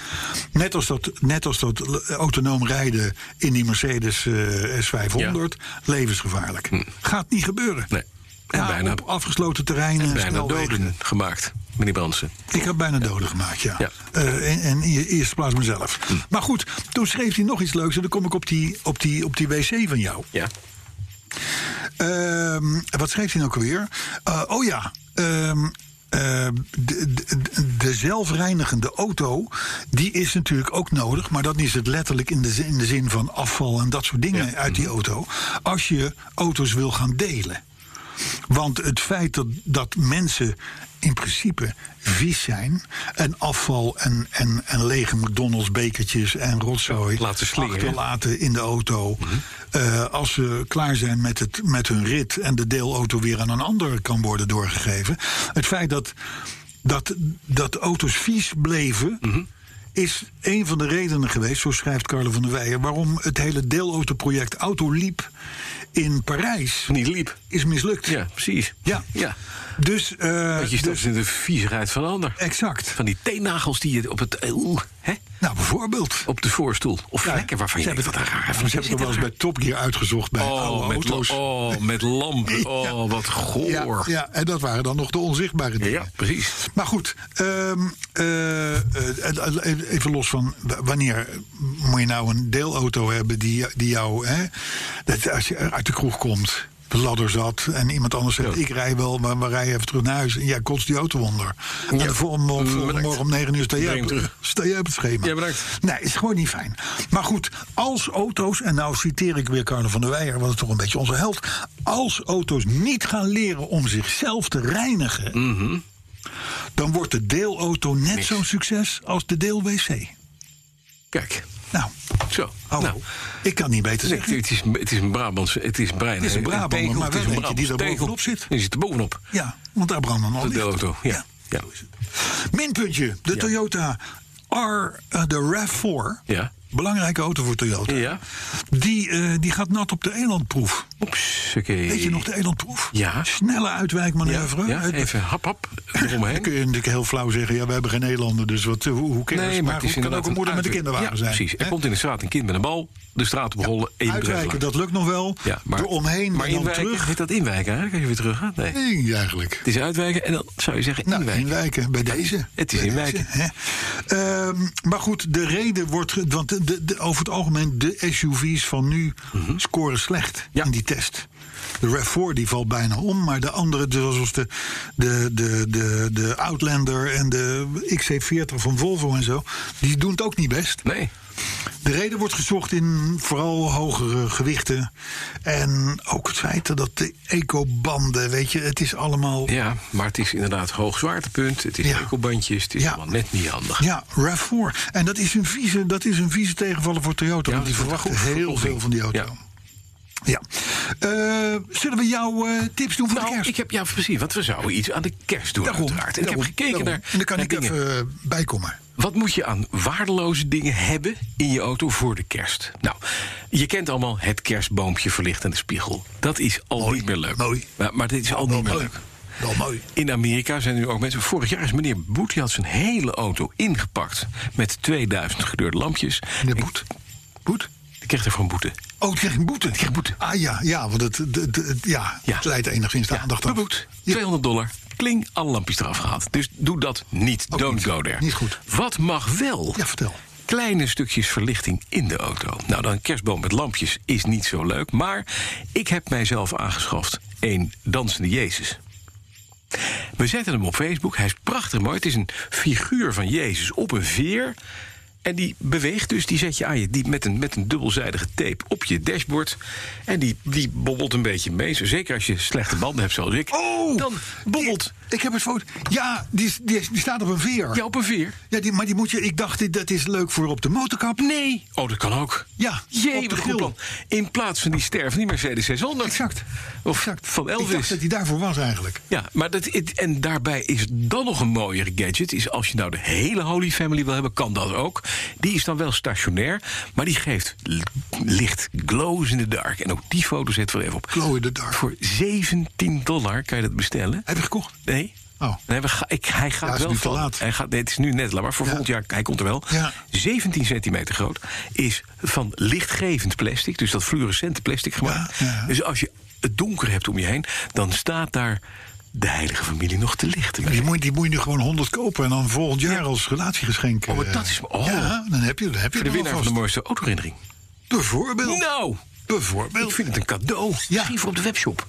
Speaker 2: Net als dat, net als dat l- autonoom rijden in die Mercedes eh, S500. Levensgevaarlijk. Gaat niet gebeuren.
Speaker 3: Hm. Nee. En
Speaker 2: Ja,
Speaker 3: bijna-
Speaker 2: op afgesloten terreinen. en
Speaker 3: Bijna
Speaker 2: snelwegen.
Speaker 3: doden gemaakt, meneer Bransen.
Speaker 2: Ik heb bijna doden gemaakt, ja.
Speaker 3: Ja.
Speaker 2: Eh, en, en in de eerste plaats mezelf. Maar goed, toen schreef hij nog iets leuks. En dan kom ik op die, op die, op die wc van jou.
Speaker 3: Ja.
Speaker 2: Ehm, wat schreef hij nou ook alweer? Eh, oh ja. ehm, ehm, de, de, de zelfreinigende auto, die is natuurlijk ook nodig. Maar dat is het letterlijk in de zin, in de zin van afval en dat soort dingen uit die auto. Als je auto's wil gaan delen. Want het feit dat, dat mensen in principe vies zijn... en afval en, en, en lege McDonald's bekertjes en rotzooi...
Speaker 3: Laten slingeren. Mhm.
Speaker 2: achterlaten in de auto... eh, als ze klaar zijn met, het, met hun rit... en de deelauto weer aan een ander kan worden doorgegeven... het feit dat, dat, dat auto's vies bleven...
Speaker 3: Mhm.
Speaker 2: Is een van de redenen geweest, zo schrijft Carlo van der Weijer, waarom het hele deelautoproject Autoliep in Parijs
Speaker 3: Niet liep.
Speaker 2: is mislukt.
Speaker 3: Ja, precies.
Speaker 2: Ja.
Speaker 3: ja.
Speaker 2: Dus, eh,
Speaker 3: Dat je
Speaker 2: dus-
Speaker 3: stapt in de viezigheid van een ander.
Speaker 2: exact.
Speaker 3: Van die teennagels die je op het... eh, oeh, hè?
Speaker 2: Nou, bijvoorbeeld.
Speaker 3: Op de voorstoel. Of vlekken Oh, waarvan je
Speaker 2: ze
Speaker 3: denkt, wat
Speaker 2: hebben
Speaker 3: een
Speaker 2: het-
Speaker 3: raar.
Speaker 2: Ze hebben het
Speaker 3: zit
Speaker 2: nog wel eens
Speaker 3: er?
Speaker 2: bij Top Gear uitgezocht bij
Speaker 3: Oh,
Speaker 2: oude
Speaker 3: met,
Speaker 2: auto's.
Speaker 3: la- oh, met lampen. Oh, wat
Speaker 2: ja,
Speaker 3: goor.
Speaker 2: ja, en dat waren dan nog de onzichtbare dingen.
Speaker 3: Ja, precies.
Speaker 2: Maar goed, ehm, eh, eh, eh, even los van w- wanneer moet je nou een deelauto hebben die, die jou, hè, dat als je uit de kroeg komt, de ladder zat en iemand anders zegt:
Speaker 3: Ja.
Speaker 2: Ik rij wel, maar we rijden even terug naar huis. En jij kotst die auto onder. En de volgende, volgende
Speaker 3: bedankt.
Speaker 2: morgen om 9 uur sta jij,
Speaker 3: Breng
Speaker 2: op,
Speaker 3: hem terug.
Speaker 2: sta jij op het schema.
Speaker 3: Ja, bedankt.
Speaker 2: Nee, is gewoon niet fijn. Maar goed, als auto's, en nou citeer ik weer Carlo van der Weijer, want het is toch een beetje onze held. Als auto's niet gaan leren om zichzelf te reinigen
Speaker 3: Mhm.
Speaker 2: dan wordt de deelauto net zo'n succes als de deelwc.
Speaker 3: Kijk,
Speaker 2: Nou,
Speaker 3: zo.
Speaker 2: hallo.
Speaker 3: Nou,
Speaker 2: ik kan niet beter
Speaker 3: dus ik-
Speaker 2: zeggen.
Speaker 3: het, is, het is een Brabants, het is brein.
Speaker 2: Het is een Brabander,
Speaker 3: tegel,
Speaker 2: maar
Speaker 3: het
Speaker 2: wel
Speaker 3: is een
Speaker 2: eentje die
Speaker 3: Brabants
Speaker 2: daar
Speaker 3: tegel.
Speaker 2: bovenop zit. Oh,
Speaker 3: Die zit er bovenop,
Speaker 2: Ja, want daar brandt dan al
Speaker 3: de
Speaker 2: licht.
Speaker 3: deelauto. Ja. Ja.
Speaker 2: Minpuntje, de Toyota R, eh, de RAV4.
Speaker 3: Ja.
Speaker 2: Belangrijke auto voor Toyota.
Speaker 3: Ja.
Speaker 2: Die, eh, die gaat nat op de elandproef.
Speaker 3: Oeps, oké.
Speaker 2: Weet je nog de elandproef?
Speaker 3: Ja.
Speaker 2: Snelle uitwijkmanoeuvre.
Speaker 3: Ja,
Speaker 2: Het-
Speaker 3: even hap, hap,
Speaker 2: Dan kun
Speaker 3: eromheen.
Speaker 2: je natuurlijk heel flauw zeggen, ja, we hebben geen Nederlander, dus wat, hoe, hoe kennen ze?
Speaker 3: Nee, maar het
Speaker 2: goed,
Speaker 3: is
Speaker 2: kan
Speaker 3: inderdaad
Speaker 2: ook een moeder met een
Speaker 3: uitweg.
Speaker 2: kinderwagen
Speaker 3: ja,
Speaker 2: zijn.
Speaker 3: precies. Er
Speaker 2: hè?
Speaker 3: komt in de straat een kind met een bal, de straat oprollen en je moet
Speaker 2: Uitwijken,
Speaker 3: rechtdoor.
Speaker 2: dat lukt nog wel.
Speaker 3: Ja, maar,
Speaker 2: Door omheen
Speaker 3: maar
Speaker 2: en dan
Speaker 3: inwijken,
Speaker 2: terug.
Speaker 3: Heet dat inwijken eigenlijk, als je weer terug gaat? Nee.
Speaker 2: Nee, eigenlijk.
Speaker 3: Het is uitwijken en dan zou je zeggen
Speaker 2: Nou,
Speaker 3: inwijken.
Speaker 2: inwijken, bij deze.
Speaker 3: Het is
Speaker 2: Bij
Speaker 3: inwijken.
Speaker 2: deze, hè. Ehm, maar goed, de reden wordt... ge- Want de, de- de- over het algemeen, de SUV's van nu scoren slecht
Speaker 3: Mhm. Ja.
Speaker 2: in die test. De RAV4 die valt bijna om, maar de andere, dus zoals de, de, de, de, de Outlander en de XC40 van Volvo en zo... die doen het ook niet best.
Speaker 3: Nee,
Speaker 2: De reden wordt gezocht in vooral hogere gewichten. En ook het feit dat de ecobanden, weet je, het is allemaal.
Speaker 3: Ja, maar het is inderdaad hoog zwaartepunt. Het is
Speaker 2: Ja.
Speaker 3: enkelbandjes. Het is
Speaker 2: Ja.
Speaker 3: allemaal net niet handig.
Speaker 2: Ja, RAV4. En dat is een vieze, dat is een vieze tegenvaller voor Toyota.
Speaker 3: Ja,
Speaker 2: want die
Speaker 3: dat is
Speaker 2: verwachten
Speaker 3: goed.
Speaker 2: heel veel van die auto.
Speaker 3: Ja.
Speaker 2: Ja. Eh, zullen we jouw eh, tips doen voor de
Speaker 3: Nou,
Speaker 2: kerst?
Speaker 3: ik heb, ja, precies. Want we zouden iets aan de kerst doen,
Speaker 2: Daarom,
Speaker 3: uiteraard. En ik
Speaker 2: daarom,
Speaker 3: heb gekeken
Speaker 2: daarom.
Speaker 3: naar,
Speaker 2: En dan kan
Speaker 3: naar
Speaker 2: ik
Speaker 3: dingen.
Speaker 2: even eh, bijkomen.
Speaker 3: Wat moet je aan waardeloze dingen hebben in je auto voor de kerst? Nou, je kent allemaal het kerstboompje verlicht aan de spiegel. Dat is al niet meer leuk.
Speaker 2: mooi.
Speaker 3: Maar, maar dit is al niet meer
Speaker 2: mooi.
Speaker 3: leuk.
Speaker 2: Wel mooi.
Speaker 3: In Amerika zijn nu ook mensen. Vorig jaar is meneer Boet, die had zijn hele auto ingepakt met 2000 gekleurde lampjes.
Speaker 2: Meneer Boet?
Speaker 3: Boet? Die kreeg er van boete.
Speaker 2: Oh, het kreeg een boete.
Speaker 3: kreeg boete.
Speaker 2: Ah ja, ja want het, het, het- het- ja,
Speaker 3: Ja.
Speaker 2: het leidt enigszins de
Speaker 3: Ja,
Speaker 2: aandacht af.
Speaker 3: beboet.
Speaker 2: Ja.
Speaker 3: 200 dollar. Kling, alle lampjes eraf gehaald. Dus doe dat niet.
Speaker 2: Ook
Speaker 3: Don't
Speaker 2: niet.
Speaker 3: go there.
Speaker 2: Niet goed.
Speaker 3: Wat mag wel?
Speaker 2: Ja, vertel.
Speaker 3: Kleine stukjes verlichting in de auto. Nou, dan een kerstboom met lampjes is niet zo leuk. Maar ik heb mijzelf aangeschaft een dansende Jezus. We zetten hem op Facebook. Hij is prachtig mooi. Het is een figuur van Jezus op een veer. En die beweegt dus, die zet je aan je die met een, met een dubbelzijdige tape op je dashboard. En die, die bobbelt een beetje mee. Zo, Zeker als je slechte banden hebt zoals ik.
Speaker 2: Oh!
Speaker 3: dan bobbelt
Speaker 2: Die- ik heb het foto. Ja, die, is- die, is- die staat op een veer.
Speaker 3: je op een veer.
Speaker 2: Ja, die, maar die moet je. Ik dacht, dit- dat is leuk voor op de motorkap.
Speaker 3: Nee. Oh, dat kan ook.
Speaker 2: Ja,
Speaker 3: Jee,
Speaker 2: op de
Speaker 3: wat een goed
Speaker 2: grill.
Speaker 3: plan. In plaats van die ster van die Mercedes 600.
Speaker 2: Exact.
Speaker 3: Of
Speaker 2: Exact.
Speaker 3: van
Speaker 2: Ik dacht
Speaker 3: Elvis.
Speaker 2: dat hij daarvoor was eigenlijk.
Speaker 3: Ja, maar dat, het- en daarbij is dan nog een mooiere gadget. Is als je nou de hele Holy Family wil hebben, kan dat ook. Die is dan wel stationair, maar die geeft l- licht. Glows in the dark. En ook die foto zetten we er even op.
Speaker 2: Glow in the dark.
Speaker 3: Voor 17 dollar kan je dat bestellen.
Speaker 2: Heb je gekocht?
Speaker 3: Nee.
Speaker 2: Oh.
Speaker 3: Nee, we ga, ik, hij gaat
Speaker 2: Ja, is
Speaker 3: wel
Speaker 2: nu te
Speaker 3: van-
Speaker 2: laat.
Speaker 3: Hij gaat, nee, het is nu net laat, maar voor
Speaker 2: Ja.
Speaker 3: volgend jaar, hij komt er wel.
Speaker 2: Ja.
Speaker 3: 17 centimeter groot. Is van lichtgevend plastic, dus dat fluorescente plastic gemaakt.
Speaker 2: Ja, ja.
Speaker 3: Dus als je het donker hebt om je heen, dan staat daar de heilige familie nog te lichten.
Speaker 2: Die moet, die moet je nu gewoon 100 kopen en dan volgend jaar als relatiegeschenk.
Speaker 3: Oh, maar
Speaker 2: eh,
Speaker 3: dat is- oh.
Speaker 2: Ja, dan heb je, dan heb je
Speaker 3: Voor
Speaker 2: het
Speaker 3: de winnaar van de
Speaker 2: alvast.
Speaker 3: mooiste autoherinnering.
Speaker 2: Bijvoorbeeld.
Speaker 3: Nou, ik
Speaker 2: Bijvoorbeeld.
Speaker 3: vind het een cadeau. Misschien voor op de webshop.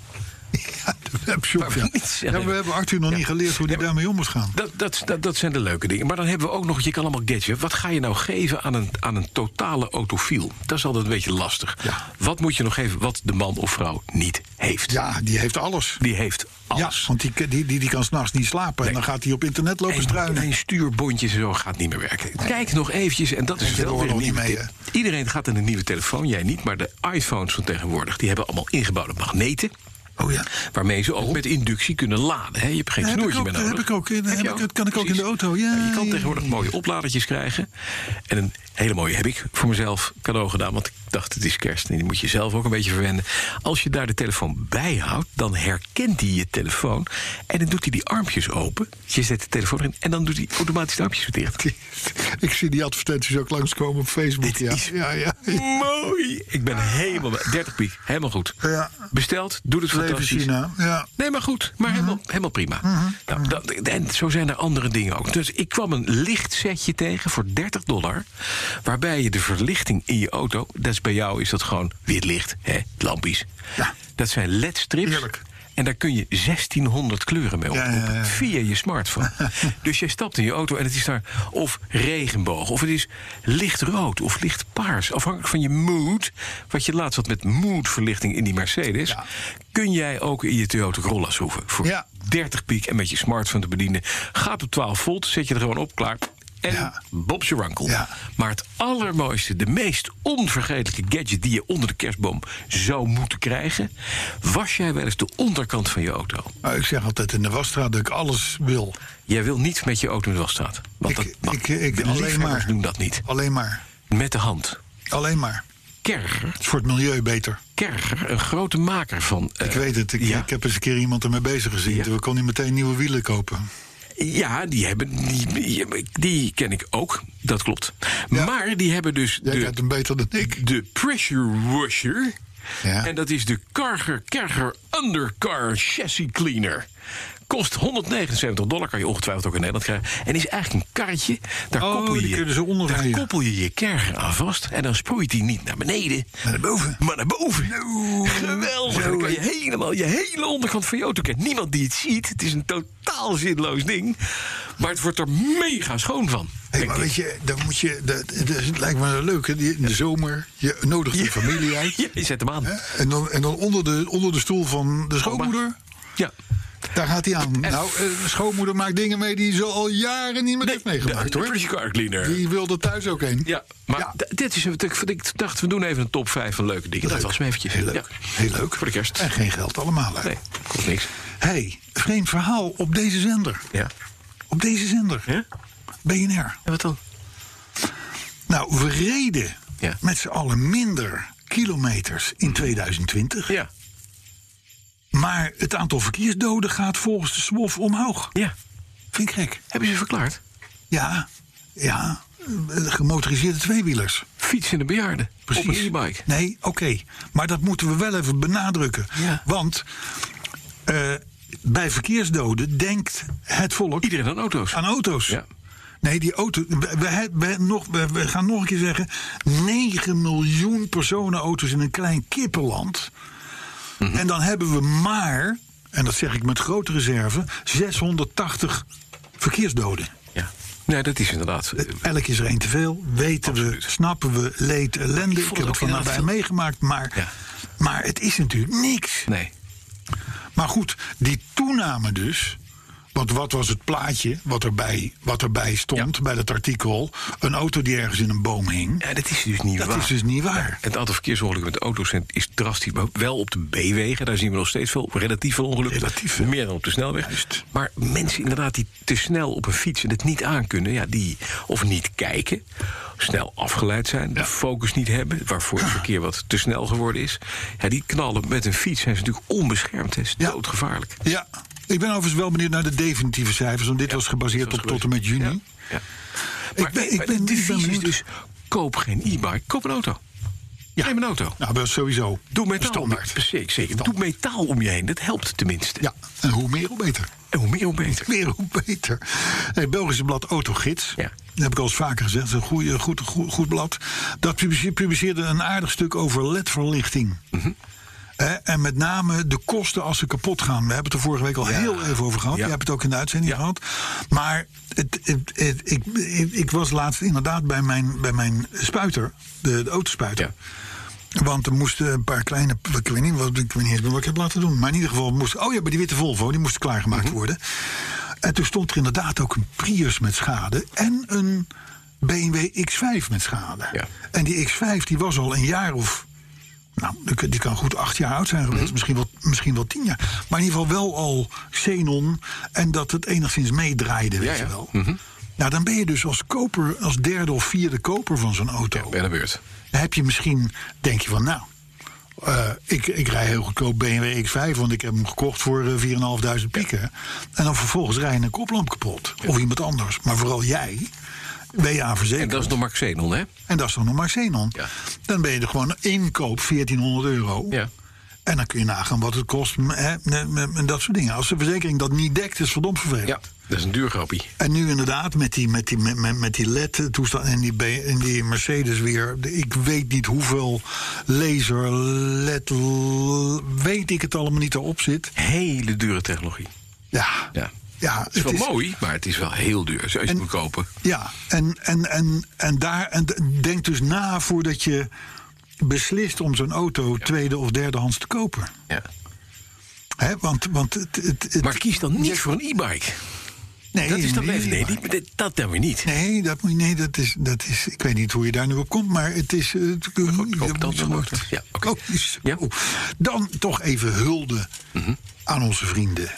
Speaker 2: Ja, de webshop.
Speaker 3: Waar
Speaker 2: Ja.
Speaker 3: we niets
Speaker 2: Ja, maar
Speaker 3: aan
Speaker 2: we
Speaker 3: hebben.
Speaker 2: hebben Arthur nog niet geleerd hoe hij daarmee om moet gaan.
Speaker 3: Dat, dat, dat, dat zijn de leuke dingen. Maar dan hebben we ook nog, je kan allemaal gadget. Wat ga je nou geven aan een, aan een totale autofiel? Dat is altijd een beetje lastig.
Speaker 2: Ja.
Speaker 3: Wat moet je nog geven wat de man of vrouw niet heeft?
Speaker 2: Ja, die heeft alles.
Speaker 3: Die heeft alles.
Speaker 2: Ja, want die, die, die, die kan s'nachts niet slapen.
Speaker 3: Nee.
Speaker 2: En dan gaat hij op internet lopen
Speaker 3: En
Speaker 2: struinen.
Speaker 3: mijn stuurbondjes en zo gaat niet meer werken. Kijk nog eventjes, en dat is
Speaker 2: Ik heb
Speaker 3: wel
Speaker 2: er
Speaker 3: weer een
Speaker 2: nog niet
Speaker 3: nieuwe
Speaker 2: mee,
Speaker 3: tip. Iedereen gaat in een nieuwe telefoon, jij niet. Maar de iPhones van tegenwoordig, die hebben allemaal ingebouwde magneten.
Speaker 2: Oh ja.
Speaker 3: Waarmee ze ook met inductie kunnen laden. hè. je hebt geen
Speaker 2: Ja, heb
Speaker 3: snoertje
Speaker 2: ik ook,
Speaker 3: meer nodig.
Speaker 2: heb ik ook. Dat
Speaker 3: Heb
Speaker 2: heb
Speaker 3: je
Speaker 2: ik- dat kan ik ook in de auto, ja,
Speaker 3: Nou, je kan
Speaker 2: ja,
Speaker 3: tegenwoordig mooie opladertjes krijgen. En een hele mooie heb ik voor mezelf cadeau gedaan. Want ik dacht, het is kerst en die moet je zelf ook een beetje verwennen. Als je daar de telefoon bij houdt, dan herkent hij je telefoon. En dan doet hij die armpjes open. Je zet de telefoon erin en dan doet hij automatisch de armpjes weer dicht.
Speaker 2: Ik zie die advertenties ook langskomen op Facebook.
Speaker 3: Dit
Speaker 2: ja.
Speaker 3: is-
Speaker 2: ja, ja.
Speaker 3: Mooi! Ik ben helemaal... bij- 30 piek, helemaal goed.
Speaker 2: Ja.
Speaker 3: Besteld, doet het
Speaker 2: Leven
Speaker 3: fantastisch.
Speaker 2: China. nou. Ja.
Speaker 3: Nee, maar goed.
Speaker 2: Mhm.
Speaker 3: Maar helemaal, helemaal prima. Nou, dat, en zo zijn er andere dingen ook. Dus ik kwam een lichtsetje tegen voor 30 dollar. Waarbij je de verlichting in je auto... Dat is bij jou is dat gewoon wit licht, hè, lampjes.
Speaker 2: Ja.
Speaker 3: Dat zijn ledstrips.
Speaker 2: Heerlijk.
Speaker 3: En daar kun je 1600 kleuren mee
Speaker 2: Ja,
Speaker 3: oproepen.
Speaker 2: ja, ja.
Speaker 3: Via je smartphone. dus jij stapt in je auto en het is daar of regenboog... of het is lichtrood of lichtpaars. Afhankelijk van je mood. Wat je laatst had met moodverlichting in die Mercedes...
Speaker 2: Ja.
Speaker 3: kun jij ook in je Toyota Corolla schroeven. Voor
Speaker 2: Ja.
Speaker 3: 30 piek en met je smartphone te bedienen. Gaat op 12 volt, zet je er gewoon op, klaar. En
Speaker 2: Ja.
Speaker 3: Bob's je rankel.
Speaker 2: Ja.
Speaker 3: Maar het allermooiste, de meest onvergetelijke gadget... die je onder de kerstboom zou moeten krijgen... was jij wel eens de onderkant van je auto.
Speaker 2: Nou, ik zeg altijd in de wasstraat dat ik alles wil.
Speaker 3: Jij wil niet met je auto in de wasstraat. Want
Speaker 2: Ik-
Speaker 3: dat mag.
Speaker 2: ik- ik-
Speaker 3: de
Speaker 2: alleen
Speaker 3: liefhebbers
Speaker 2: maar.
Speaker 3: doen dat niet.
Speaker 2: Alleen maar.
Speaker 3: Met de hand.
Speaker 2: Alleen maar.
Speaker 3: Kerger,
Speaker 2: Het is voor het milieu beter.
Speaker 3: Kerger, een grote maker van... eh,
Speaker 2: Ik weet het. Ik,
Speaker 3: ja.
Speaker 2: ik heb eens een keer iemand ermee bezig gezien.
Speaker 3: Ja.
Speaker 2: Toen kon hij meteen nieuwe wielen kopen.
Speaker 3: Ja, die, hebben, die, die ken ik ook, dat klopt.
Speaker 2: Ja.
Speaker 3: Maar die hebben dus
Speaker 2: Jij kent
Speaker 3: de,
Speaker 2: hem beter dan ik.
Speaker 3: de pressure washer.
Speaker 2: Ja.
Speaker 3: En dat is de Karger Kerger Undercar Chassis Cleaner. Kost 179 dollar, kan je ongetwijfeld ook in Nederland krijgen. En is eigenlijk een karretje. Daar,
Speaker 2: Oh,
Speaker 3: koppel,
Speaker 2: die
Speaker 3: je,
Speaker 2: kunnen ze onderrijden.
Speaker 3: daar koppel je je kerger aan vast. En dan sproeit die niet naar beneden.
Speaker 2: Maar naar boven.
Speaker 3: Maar naar boven. Geweldig. Dan kan je helemaal je hele onderkant van je auto kennen. Niemand die het ziet. Het is een totaal zinloos ding. Maar het wordt er mega schoon van.
Speaker 2: Hey, maar weet je, dan moet je, dat, dat is- lijkt me leuk. Hè? Die- In de zomer, je nodigt je familie uit.
Speaker 3: Ja, je zet hem aan.
Speaker 2: hè, En dan, en dan onder, de, onder de stoel van de schoonmoeder,
Speaker 3: Ja.
Speaker 2: daar gaat hij aan. Nou, eh, schoonmoeder maakt dingen mee die ze al jaren niet meer heeft meegemaakt,
Speaker 3: De
Speaker 2: hoor.
Speaker 3: Pretty car cleaner.
Speaker 2: Die wilde thuis ook heen.
Speaker 3: Ja, maar
Speaker 2: Ja.
Speaker 3: d- dit is wat ik, wat ik dacht, we doen even een top 5 van leuke dingen. Dat was me eventjes.
Speaker 2: Heel leuk.
Speaker 3: Ja.
Speaker 2: Heel leuk.
Speaker 3: Voor de kerst.
Speaker 2: En geen geld allemaal uit.
Speaker 3: Nee, kost niks.
Speaker 2: hey, vreemd verhaal op deze zender.
Speaker 3: Ja.
Speaker 2: Op deze zender.
Speaker 3: Ja?
Speaker 2: BNR.
Speaker 3: En wat dan?
Speaker 2: Nou, we reden
Speaker 3: Ja. Mhm.
Speaker 2: met z'n allen minder kilometers in 2020.
Speaker 3: Ja.
Speaker 2: Maar het aantal verkeersdoden gaat volgens de SWOF omhoog.
Speaker 3: Ja.
Speaker 2: Vind ik gek.
Speaker 3: Hebben ze verklaard?
Speaker 2: Ja, ja. eh, Gemotoriseerde tweewielers.
Speaker 3: Fiets in de bejaarden.
Speaker 2: Precies.
Speaker 3: Op een e-bike.
Speaker 2: Nee, oké. Maar dat moeten we wel even benadrukken.
Speaker 3: Ja.
Speaker 2: Want eh, bij verkeersdoden denkt het volk
Speaker 3: Iedereen aan auto's.
Speaker 2: aan auto's.
Speaker 3: Ja.
Speaker 2: Nee, die auto. We, we, he- we nog, we, we gaan nog een keer zeggen. 9 miljoen personenauto's in een klein kippenland.
Speaker 3: Mhm.
Speaker 2: En dan hebben we maar, en dat zeg ik met grote reserve, 680 verkeersdoden.
Speaker 3: Ja. Nee, dat is inderdaad. eh,
Speaker 2: Elk is er één te veel. Weten we, snappen we, leed, ellende. Ik,
Speaker 3: vond het
Speaker 2: heb
Speaker 3: ook
Speaker 2: het van
Speaker 3: inderdaad
Speaker 2: nabij
Speaker 3: veel.
Speaker 2: meegemaakt. Maar,
Speaker 3: Ja.
Speaker 2: maar het is natuurlijk niks.
Speaker 3: Nee.
Speaker 2: Maar goed, die toename dus. Want wat was het plaatje wat erbij, wat erbij stond bij dat artikel? Een auto die ergens in een boom hing.
Speaker 3: Ja, dat is dus niet
Speaker 2: Dat
Speaker 3: waar.
Speaker 2: is dus niet waar.
Speaker 3: Het aantal verkeersongelukken met auto's is drastisch. Maar wel op de B-wegen, daar zien we nog steeds veel. Relatief veel ongelukken.
Speaker 2: Relatief veel.
Speaker 3: Meer dan op de snelweg. Maar mensen inderdaad die te snel op een fiets en het niet aankunnen... Ja, die of niet kijken, snel afgeleid zijn, de focus niet hebben... waarvoor het verkeer wat te snel geworden is. Ja, die knallen met een fiets zijn ze natuurlijk onbeschermd. Het is
Speaker 2: Ja.
Speaker 3: doodgevaarlijk.
Speaker 2: Ja, ik ben overigens wel benieuwd naar de definitieve cijfers. Want dit was gebaseerd
Speaker 3: dat was
Speaker 2: op tot en met juni.
Speaker 3: Ja. Ja.
Speaker 2: Ik ben- ik
Speaker 3: maar
Speaker 2: ben-
Speaker 3: de
Speaker 2: ik ben
Speaker 3: devies is
Speaker 2: benieuwd.
Speaker 3: dus koop geen e-bike, koop een auto. Neem een auto.
Speaker 2: Nou, dat is sowieso.
Speaker 3: Doe metaal.
Speaker 2: Standaard.
Speaker 3: Zeker, zeker. Doe metaal om je heen. Dat helpt tenminste.
Speaker 2: Ja, en hoe meer hoe beter.
Speaker 3: En hoe meer, hoe beter.
Speaker 2: Meer hoe beter. Het Belgische blad Autogids.
Speaker 3: Ja.
Speaker 2: Dat heb ik al eens vaker gezegd. Dat is een goeie, goed, goed, goed blad. Dat publice- publiceerde een aardig stuk over ledverlichting.
Speaker 3: Mhm.
Speaker 2: Eh, en met name de kosten als ze kapot gaan. We hebben het er vorige week al heel even over gehad.
Speaker 3: Ja.
Speaker 2: Je hebt het ook in de uitzending
Speaker 3: Ja.
Speaker 2: gehad. Maar het, het- het- ik, ik, ik was laatst inderdaad bij mijn, bij mijn spuiter. De, de autospuiter.
Speaker 3: Ja.
Speaker 2: Want er moesten een paar kleine. Ik weet niet wat ik, weet niet eens meer wat ik heb laten doen. Maar in ieder geval moest. Oh ja, bij die witte Volvo. Die moest klaargemaakt
Speaker 3: Mhm.
Speaker 2: worden. En toen stond er inderdaad ook een Prius met schade. En een BMW X5 met schade.
Speaker 3: Ja.
Speaker 2: En die X5 die was al een jaar of. Nou, die kan- die kan goed acht jaar oud zijn geweest.
Speaker 3: Mhm.
Speaker 2: misschien, wel, misschien wel tien jaar. Maar in ieder geval wel al xenon. En dat het enigszins meedraaide, weet
Speaker 3: ja. Mhm.
Speaker 2: je wel. Nou, dan ben je dus als koper, als derde of vierde koper van zo'n auto.
Speaker 3: Ben aan de beurt.
Speaker 2: Dan heb je misschien, denk je van nou, eh, ik, ik rij heel goedkoop BMW X5, want ik heb hem gekocht voor eh, 4.500 pieken. En dan vervolgens rij je een koplamp kapot. Of iemand anders, maar vooral jij. Ben je aan
Speaker 3: En
Speaker 2: verzekerd.
Speaker 3: dat is nog maar Xenon, hè?
Speaker 2: En dat is dan nog maar Xenon.
Speaker 3: Ja.
Speaker 2: Dan ben je er gewoon inkoop 1400 euro.
Speaker 3: Ja.
Speaker 2: En dan kun je nagaan wat het kost m- hè, m- m- en dat soort dingen. Als de verzekering dat niet dekt, is verdomd vervelend.
Speaker 3: Ja. Dat is een duur grappie.
Speaker 2: En nu inderdaad met die, met die, met, met- met die LED-toestand en die, B- en die Mercedes weer. de- Ik weet niet hoeveel laser, LED, l- weet ik het allemaal niet erop zit.
Speaker 3: Hele dure technologie.
Speaker 2: Ja,
Speaker 3: Ja.
Speaker 2: ja
Speaker 3: Het is wel mooi, maar het is wel heel duur. Als je het
Speaker 2: En-
Speaker 3: moet kopen.
Speaker 2: Ja, en, en, en, en, daar, en d- denk dus na voordat je beslist om zo'n auto tweede of derdehands te kopen.
Speaker 3: Ja.
Speaker 2: hè? want, want het, het, het-
Speaker 3: Maar kies dan niet voor een e-bike.
Speaker 2: nee,
Speaker 3: dat is dan
Speaker 2: nee,
Speaker 3: even... Nee,
Speaker 2: maar-
Speaker 3: die- dat- dat dan weer niet.
Speaker 2: Nee, dat, moet je- nee dat, is, dat is. Ik weet niet hoe je daar nu op komt, maar het is. eh, Het,
Speaker 3: koop dan zo'n auto. Ja, oké.
Speaker 2: Oh, is-
Speaker 3: Ja. Mhm.
Speaker 2: oh. Dan toch even hulde aan onze vrienden